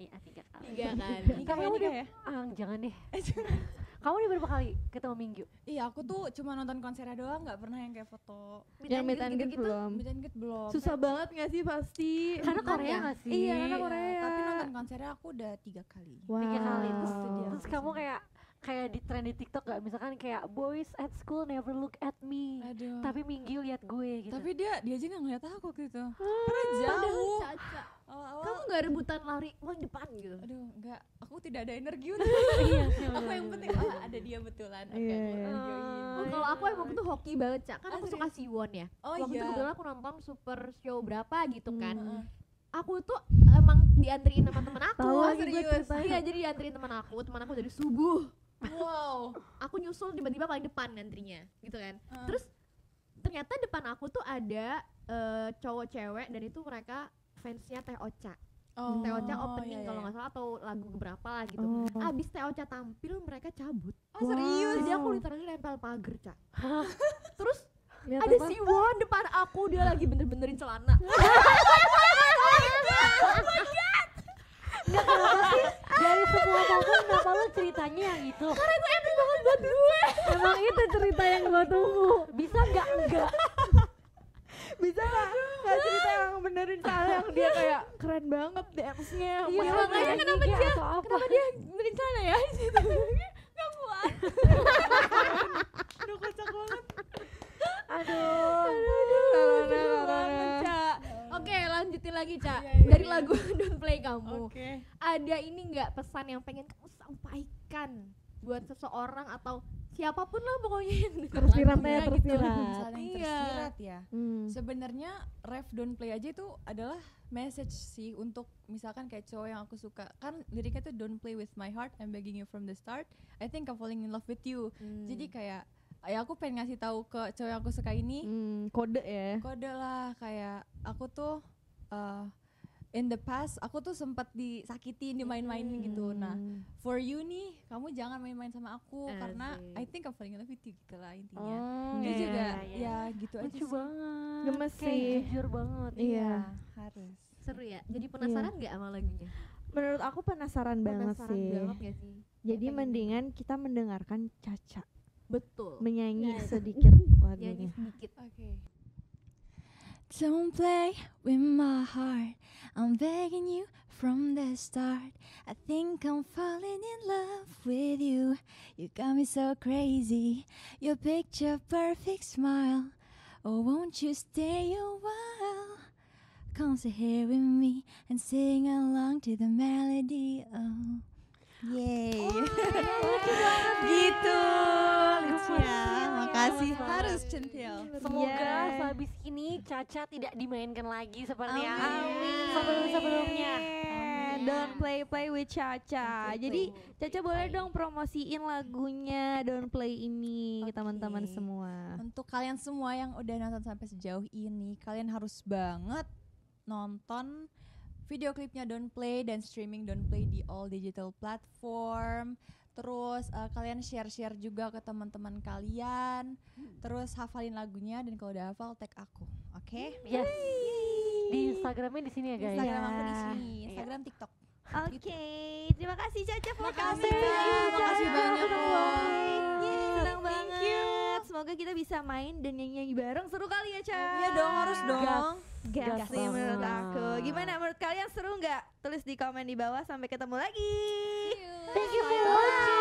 [SPEAKER 5] iya tiga kali
[SPEAKER 6] [laughs] tiga kali
[SPEAKER 2] nikah ya,
[SPEAKER 5] Iya, kamu
[SPEAKER 2] nikah
[SPEAKER 5] udah-
[SPEAKER 2] ya?
[SPEAKER 5] ah jangan deh
[SPEAKER 2] [laughs] Eh, jangan.
[SPEAKER 5] kamu udah berapa kali ketemu minggu
[SPEAKER 2] Iya, aku tuh cuma nonton konsernya doang, nggak pernah yang kayak foto.
[SPEAKER 3] Yang meet and greet belum.
[SPEAKER 2] Meet and greet belum.
[SPEAKER 3] Susah banget gak sih pasti?
[SPEAKER 5] karena kan
[SPEAKER 6] Belum
[SPEAKER 5] Korea
[SPEAKER 6] ya?
[SPEAKER 5] gak sih
[SPEAKER 3] Iya, karena
[SPEAKER 2] Iya,
[SPEAKER 3] Korea.
[SPEAKER 2] Tapi nonton konsernya aku udah tiga kali.
[SPEAKER 5] tiga kali terus,
[SPEAKER 2] Wow.
[SPEAKER 5] Ah,
[SPEAKER 3] Oh,
[SPEAKER 5] terus kamu kayak kayak di trend di TikTok gak misalkan kayak boys at school never look at me
[SPEAKER 2] Aduh. Tapi,
[SPEAKER 5] tapi minggu lihat gue gitu
[SPEAKER 2] dia dia aja nggak ngeliat aku waktu itu. Karena jauh. Awal-awal.
[SPEAKER 6] kamu nggak rebutan lari paling depan gitu
[SPEAKER 2] Aduh, enggak. Aku tidak ada energi untuk
[SPEAKER 5] iya
[SPEAKER 2] aku yang penting oh, ada dia betulan. Oke,
[SPEAKER 3] Iya,
[SPEAKER 2] aku
[SPEAKER 3] iya.
[SPEAKER 2] videoin.
[SPEAKER 6] Oh, kalau aku emang tuh hoki banget, Cak. Kan aku suka Siwon ya.
[SPEAKER 2] iya. Oh
[SPEAKER 6] Waktu
[SPEAKER 2] iya. Hmm,
[SPEAKER 6] itu kebetulan aku nonton Super Show berapa gitu kan.
[SPEAKER 2] Heeh.
[SPEAKER 6] Aku tuh emang dianterin sama temen aku.
[SPEAKER 2] Tahu
[SPEAKER 6] Oh,
[SPEAKER 2] lagi gue ceritain.
[SPEAKER 6] Iya, jadi dianterin temen aku. Temen aku dari subuh.
[SPEAKER 2] Wow.
[SPEAKER 6] Aku nyusul tiba-tiba paling depan ngantrinya gitu kan.
[SPEAKER 2] Heeh.
[SPEAKER 6] Terus ternyata depan aku tuh ada eh, cowok cewek dan itu mereka fansnya Teh Ocha.
[SPEAKER 2] oh,
[SPEAKER 6] Teh Ocha
[SPEAKER 2] iya,
[SPEAKER 6] opening
[SPEAKER 2] iya.
[SPEAKER 6] kalau nggak salah atau lagu berapa lah gitu.
[SPEAKER 3] Oh.
[SPEAKER 6] Abis Teh Ocha tampil mereka cabut.
[SPEAKER 2] Oh, serius.
[SPEAKER 6] Jadi aku literally nempel pagar, Cak. Terus
[SPEAKER 4] Lihat
[SPEAKER 6] ada
[SPEAKER 4] apa?
[SPEAKER 6] si Won depan aku dia lagi bener-benerin celana
[SPEAKER 5] dari semua momen kenapa lo ceritanya gitu. yang itu
[SPEAKER 4] Emang itu cerita yang gue tunggu.
[SPEAKER 5] bisa nggak enggak
[SPEAKER 3] Bisa gak? Gak cerita yang benerin salah yang dia kayak keren banget dance-nya.
[SPEAKER 5] iya makanya kenapa dia atau apa
[SPEAKER 6] dia benerin celana
[SPEAKER 2] [laughs]
[SPEAKER 6] ya nggak kuat
[SPEAKER 2] Aduh, kocak banget.
[SPEAKER 3] Aduh. Aduh,
[SPEAKER 6] banget Cak oke lanjutin lagi Cak
[SPEAKER 2] Iya, iya,
[SPEAKER 6] dari
[SPEAKER 2] iya.
[SPEAKER 6] lagu [laughs] Don't Play
[SPEAKER 2] Oke.
[SPEAKER 6] Kamu ada ini nggak pesan yang pengen kamu sampaikan buat seseorang atau siapapun lah pokoknya yang denger
[SPEAKER 4] Tersirat ya,
[SPEAKER 6] lagunya gitu.
[SPEAKER 4] tersirat.
[SPEAKER 2] Misalnya yang
[SPEAKER 6] Iya.
[SPEAKER 2] tersirat ya.
[SPEAKER 4] Hmm.
[SPEAKER 2] Sebenarnya ref don't play aja itu adalah message sih untuk misalkan kayak cowok yang aku suka kan liriknya tuh don't play with my heart I'm begging you from the start I think I'm falling in love with you jadi kayak ya aku pengen ngasih tahu ke cowok yang aku suka ini
[SPEAKER 3] Hmm, kode ya.
[SPEAKER 2] kode lah kayak aku tuh uh, in the past aku tuh sempat disakitin dimain-mainin
[SPEAKER 3] Hmm.
[SPEAKER 2] gitu nah for you nih kamu jangan main-main sama aku karena
[SPEAKER 6] Asik.
[SPEAKER 2] I think I'm falling in love with you gitu lah intinya
[SPEAKER 3] Oh,
[SPEAKER 2] Dia
[SPEAKER 3] iya.
[SPEAKER 2] juga
[SPEAKER 5] iya,
[SPEAKER 2] ya gitu aja
[SPEAKER 5] lucu
[SPEAKER 2] sih.
[SPEAKER 5] banget
[SPEAKER 3] Gemes
[SPEAKER 5] kayak
[SPEAKER 3] sih.
[SPEAKER 5] jujur banget
[SPEAKER 3] Iya.
[SPEAKER 2] harus Iya.
[SPEAKER 6] seru ya jadi penasaran nggak sama lagunya
[SPEAKER 3] Menurut aku penasaran, banget
[SPEAKER 6] Penasaran
[SPEAKER 3] sih.
[SPEAKER 6] banget gak sih?
[SPEAKER 3] Jadi
[SPEAKER 6] Pengen-
[SPEAKER 3] mendingan kita mendengarkan Caca
[SPEAKER 6] Betul.
[SPEAKER 3] menyanyi
[SPEAKER 6] Iya.
[SPEAKER 3] sedikit lagunya.
[SPEAKER 6] Nyanyi sedikit.
[SPEAKER 2] Don't play with my heart. I'm begging you from the start. I think I'm falling in love with you. You got me so crazy. Your picture perfect smile. Oh, won't you stay a while? Come sit here with me and sing along to the melody. Oh, yay! [laughs] gitu, Lucia. Makasih. Harus centil.
[SPEAKER 5] Semoga
[SPEAKER 3] Iya.
[SPEAKER 5] sehabis ini Caca tidak dimainkan lagi seperti yang
[SPEAKER 2] Amin.
[SPEAKER 5] sebelum-sebelumnya.
[SPEAKER 3] Amin. Don't play play with
[SPEAKER 2] Gitu.
[SPEAKER 3] Caca. Jadi Caca boleh dong promosiin lagunya Don't Play ini ke
[SPEAKER 2] Oke.
[SPEAKER 3] teman-teman semua.
[SPEAKER 2] Untuk kalian semua yang udah nonton sampai sejauh ini, kalian harus banget nonton video klipnya Don't Play dan streaming Don't Play di all digital platform. Terus eh, kalian share-share juga ke teman-teman kalian.
[SPEAKER 3] Hmm.
[SPEAKER 2] Terus hafalin lagunya dan kalau udah hafal tag aku, oke?
[SPEAKER 5] Yes. Di Instagramnya di sini ya guys.
[SPEAKER 2] Instagram aku di
[SPEAKER 3] Iya.
[SPEAKER 2] sini, Instagram, TikTok.
[SPEAKER 3] Oke, terima kasih Caca for
[SPEAKER 2] Makasih,
[SPEAKER 3] coming.
[SPEAKER 2] Caca. Makasih
[SPEAKER 3] Caca.
[SPEAKER 2] banyak, loh.
[SPEAKER 3] Yeay, Senang
[SPEAKER 2] Thank
[SPEAKER 3] banget. Semoga kita bisa main dan nyanyi-nyanyi bareng seru kali ya, Ca.
[SPEAKER 2] Iya dong, harus dong.
[SPEAKER 3] Gas,
[SPEAKER 5] Gas
[SPEAKER 3] sih menurut
[SPEAKER 5] banget.
[SPEAKER 3] aku. Gimana menurut kalian seru nggak? Tulis di komen di bawah. Sampai ketemu lagi.
[SPEAKER 5] Thank you for watching.